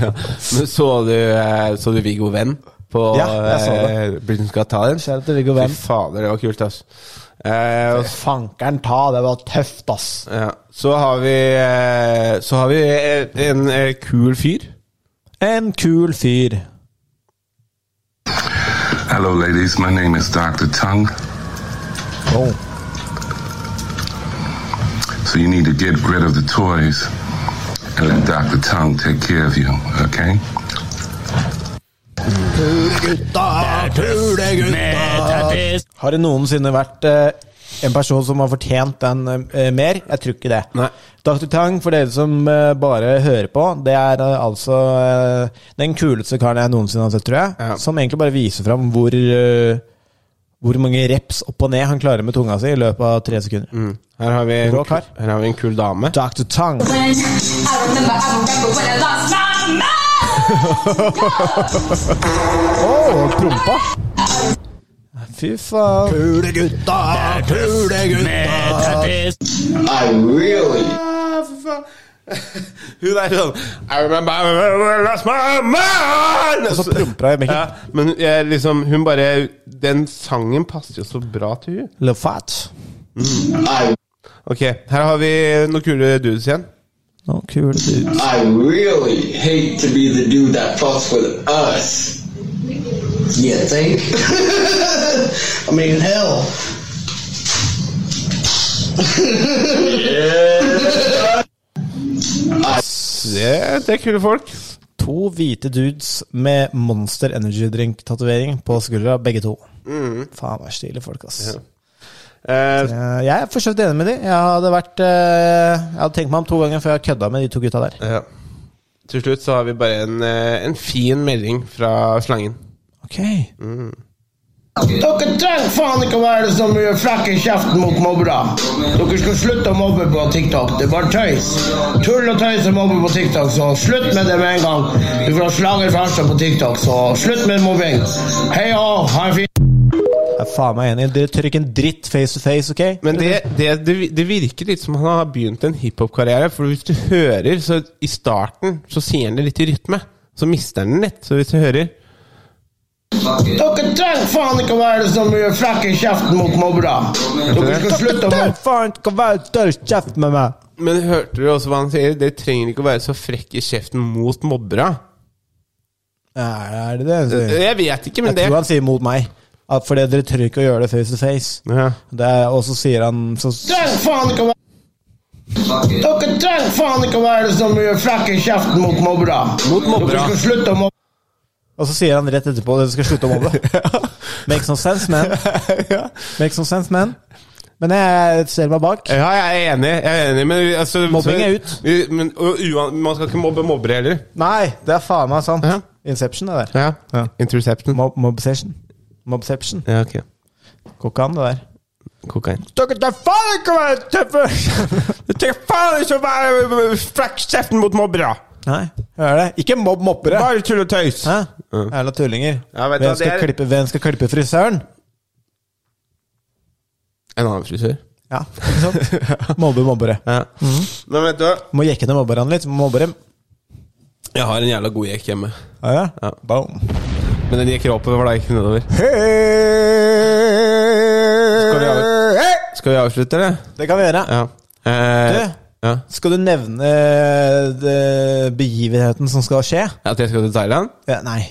Speaker 2: ja. Men så du, eh, så du Viggo Venn på
Speaker 1: Ja, jeg så
Speaker 2: eh, Britain's Got Talent?
Speaker 1: Kjære til Viggo
Speaker 2: Fy
Speaker 1: Venn.
Speaker 2: fader, det var kult, ass. Eh, og s-
Speaker 1: Fankeren ta, det var tøft, ass.
Speaker 2: ja. Så har vi, eh, så har vi eh, en eh, kul fyr.
Speaker 1: En kul fyr.
Speaker 6: Hello, ladies. My name is Dr. Tongue.
Speaker 1: Oh.
Speaker 6: So you need to get rid of the toys and let Dr. Tongue take care of you, okay?
Speaker 1: Har det noensinne vært eh, en person som har fortjent den eh, mer? Jeg tror ikke det.
Speaker 2: Nei.
Speaker 1: Dr. Tang, for dere som eh, bare hører på, det er eh, altså eh, den kuleste karen jeg noensinne har sett, tror jeg.
Speaker 2: Ja.
Speaker 1: Som egentlig bare viser fram hvor, eh, hvor mange reps opp og ned han klarer med tunga si i løpet av tre sekunder.
Speaker 2: Her har vi en,
Speaker 1: Rå kar.
Speaker 2: her har vi en kul dame.
Speaker 1: Dr. Tang.
Speaker 9: I remember, I remember when I lost my mind.
Speaker 1: Oh, prompa! Fy faen.
Speaker 2: Ah, Hun er sånn I remember I lost my mind!
Speaker 1: Og så promper hun i mikken.
Speaker 2: Ja, men jeg, liksom, hun bare Den sangen passer jo så bra til hun
Speaker 1: Le fat.
Speaker 2: Ok, her har vi noen kule dudes igjen.
Speaker 1: Noen kule dudes.
Speaker 8: I really hate to be the dude that fucks with us. You think? I mean, hell.
Speaker 2: Det, det er kule folk.
Speaker 1: To hvite dudes med Monster Energy Drink-tatovering på skuldra, begge to.
Speaker 2: Mm.
Speaker 1: Faen, det er stilige folk, ass.
Speaker 2: Eh,
Speaker 1: Eh, Jeg er for så vidt enig med de. Jeg hadde, vært, eh, jeg hadde tenkt meg om to ganger før jeg kødda med de to gutta der.
Speaker 2: ja. Til slutt så har vi bare en, eh, en fin melding fra slangen.
Speaker 1: Ok.
Speaker 8: Dere trenger faen ikke å være så mye frekk i kjeften mot mobbere. Dere skal slutte å mobbe på TikTok. Det er bare tøys. Tull og tøys og mobbe på TikTok, så slutt med det med en gang. Du får slager fra Harstad på TikTok, så slutt med mobbing. Hei og ha en fin
Speaker 1: Jeg er faen meg enig. Dere tør ikke en dritt face to face, ok?
Speaker 2: Men det, det, det, vi- det virker litt som han har begynt en hiphop-karriere. For hvis du hører, så i starten så sier han det litt i rytme. Så mister han den litt. Så hvis du hører
Speaker 8: Dere trenger faen ikke å være så mye frekk i kjeften mot mobbere. Dere skal slutte å
Speaker 1: Dere
Speaker 8: mobbe.
Speaker 1: faen ikke være tørr kjeft med meg!
Speaker 2: Men hørte du også hva han sier? Dere trenger ikke å være så frekk i kjeften mot mobbere.
Speaker 1: Ja, er det det?
Speaker 2: Eh,
Speaker 1: Jeg,
Speaker 2: Jeg vet ikke, men
Speaker 1: jeg
Speaker 2: det
Speaker 1: tror han sier mot meg. At fordi dere tør ikke å gjøre det face to face.
Speaker 2: ja.
Speaker 1: Det er- Og så sier han så
Speaker 8: Trenger faen ikke å være Dere trenger faen ikke å være så mye frekk i kjeften mot mobbere.
Speaker 2: Mot mobbere.
Speaker 8: Dere skal slutte å mobbe.
Speaker 1: Og så sier han rett etterpå at du skal slutte å mobbe. Makes no sense, man. Makes no sense, man. Men jeg ser meg bak.
Speaker 2: ja, jeg er enig. Jeg er enig men altså,
Speaker 1: Mobbing
Speaker 2: så-
Speaker 1: er ut.
Speaker 2: Vi- Men, og, uan, man skal ikke mobbe mobbere heller.
Speaker 1: Nei, det er faen meg sant.
Speaker 2: Ja.
Speaker 1: Inception, det der.
Speaker 2: Ja. Interception.
Speaker 1: Mob Mobsession. Mobseption.
Speaker 2: Ja, ok.
Speaker 1: Går ikke an, det der.
Speaker 2: Kokain.
Speaker 1: Dere tar faen ikke meg tøffe!
Speaker 2: Du trenger faen ikke å være frekk i kjeften mot mobbere!
Speaker 1: Nei, hør det. Ikke mobb moppere.
Speaker 2: Bare tull og tøys!
Speaker 1: Hæ? Jævla tullinger.
Speaker 2: Ja, vet du
Speaker 1: hvem,
Speaker 2: hva, det
Speaker 1: skal
Speaker 2: er-
Speaker 1: klippe, hvem skal klippe frisøren?
Speaker 2: En annen frisør. Mhm.
Speaker 1: Ja, ikke sant? Mobbe mobbere.
Speaker 2: Ja. Men vet du hva?
Speaker 1: Må jekke ned mobberne litt. Mobber dem.
Speaker 2: Jeg har en jævla god jekk hjemme.
Speaker 1: Ja, ja.
Speaker 2: Ja.
Speaker 1: Boom.
Speaker 2: Men den jekker oppover, da, ikke nedover.
Speaker 1: Skal
Speaker 2: vi av- Skal vi avslutte, eller?
Speaker 1: Det kan vi gjøre.
Speaker 2: Ja. Eh,
Speaker 1: Du?
Speaker 2: ja.
Speaker 1: Skal du nevne eh, det- begivenheten som skal skje?
Speaker 2: At jeg skal til Thailand?
Speaker 1: Ja, nei.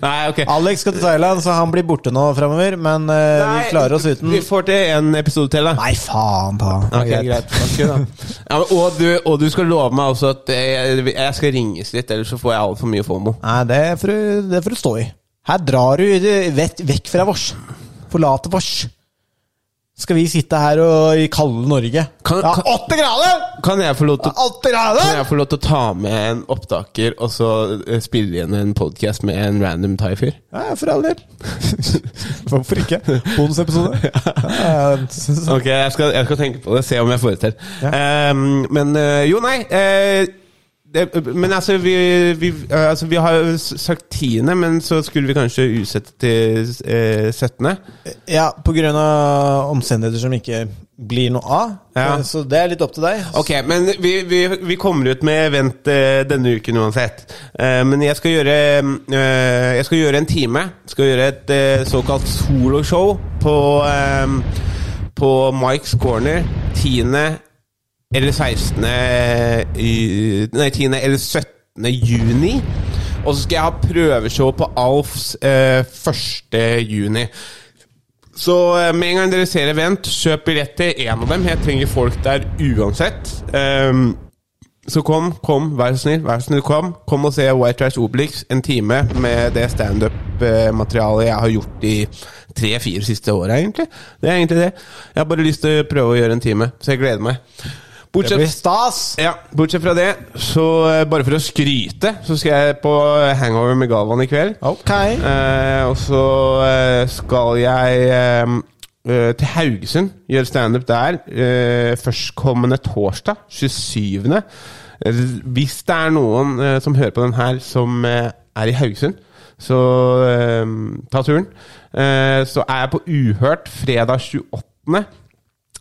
Speaker 2: Nei, ok.
Speaker 1: Alex skal til Thailand, så han blir borte nå framover. Men eh, vi klarer oss uten
Speaker 2: Vi får til en episode til, da.
Speaker 1: Nei, faen ta.
Speaker 2: Ok, greit. Ok, da. Ja, men, og, du, og du skal love meg også at jeg, jeg skal ringes litt, ellers så får jeg altfor mye FOMO.
Speaker 1: Nei, det får du, det får du stå i. Her drar du det vekk, vekk fra vårs. Forlater vårs. Skal vi sitte her og i kalde Norge?
Speaker 2: Kan-
Speaker 1: ja,
Speaker 2: kan-
Speaker 1: åtte grader!
Speaker 2: Kan jeg få lov til,
Speaker 1: Åtte
Speaker 2: kan
Speaker 1: grader!
Speaker 2: jeg få lov til å ta med en opptaker, og så eh, spille igjen en podkast med en random thai-fyr?
Speaker 1: Ja, ja, for all del. Hvorfor ikke? Bonusepisode. Ja,
Speaker 2: Ok, jeg skal, jeg skal tenke på det, se om jeg får det til.
Speaker 1: Ja.
Speaker 2: Ehm, men eh, jo, nei. eh, det, men altså vi, vi, eh, altså, vi har jo s- sagt tiende, men så skulle vi kanskje utsette til eh, 17.
Speaker 1: ja, på grunn av omstendigheter som ikke blir noe av.
Speaker 2: Ja.
Speaker 1: Eh, Så det er litt opp til deg.
Speaker 2: Ok, men vi, vi, vi kommer ut med event eh, denne uken uansett. Eh, men jeg skal gjøre eh, Jeg skal gjøre en time. Skal gjøre et eh, såkalt soloshow på eh, På Mikes Corner 10. eller 16. i- Nei, 10. eller 17. juni. Og så skal jeg ha prøveshow på Alfs eh, 1. juni. Så eh, med en gang dere ser event, kjøp billetter. En av dem. Jeg trenger folk der uansett. Ehm, så kom, kom, vær så snill, vær så snill, kom. Kom og se White Trash Obelix en time med det standup-materialet jeg har gjort de tre-fire siste åra, egentlig. Det er egentlig det. Jeg har bare lyst til å prøve å gjøre en time, så jeg gleder meg.
Speaker 1: Det
Speaker 2: Bortsett
Speaker 1: blir stas!
Speaker 2: ja, bortsett fra det, så eh, bare for å skryte, så skal jeg på Hangover med Galvan i kveld.
Speaker 1: Ok.
Speaker 2: Eh, og så eh, skal jeg eh, eh, til Haugesund, gjøre standup der, eh, førstkommende torsdag, 27. Eh, Hvis det er noen eh, som hører på den her, som eh, er i Haugesund, så eh, ta turen. Eh, så er jeg på Uhørt fredag 28.,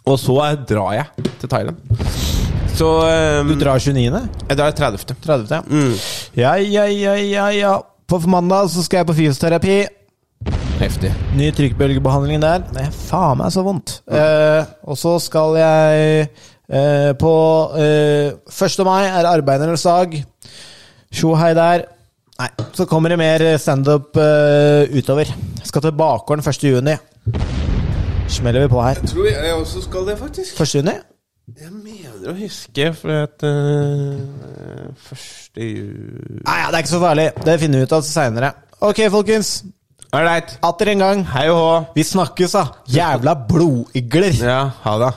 Speaker 2: og så eh, drar jeg til Thailand. Så eh,
Speaker 1: Du drar 29.
Speaker 2: jeg drar 30.
Speaker 1: 30. ja.
Speaker 2: Mm.
Speaker 1: Ja, ja, ja, ja, ja. På mandag så skal jeg på fysioterapi.
Speaker 2: Heftig.
Speaker 1: Ny trykkbølgebehandling der. Det er faen meg så vondt. Eh, og så skal jeg eh, på eh, 1. mai er arbeidernes dag. Tjo hei der. Nei, så kommer det mer standup uh, utover. Skal til Bakgården 1. juni. Smeller vi på her.
Speaker 2: Tror jeg også skal det, faktisk.
Speaker 1: 1. juni?
Speaker 2: Jeg mener å huske for at eh, Første jul
Speaker 1: Nei, ja, det er ikke så farlig. Det finner vi ut av seinere. Ok, folkens.
Speaker 2: Ålreit.
Speaker 1: Atter en gang.
Speaker 2: Hei og hå.
Speaker 1: Vi snakkes, da. Jævla blodigler.
Speaker 2: Ja, ha det.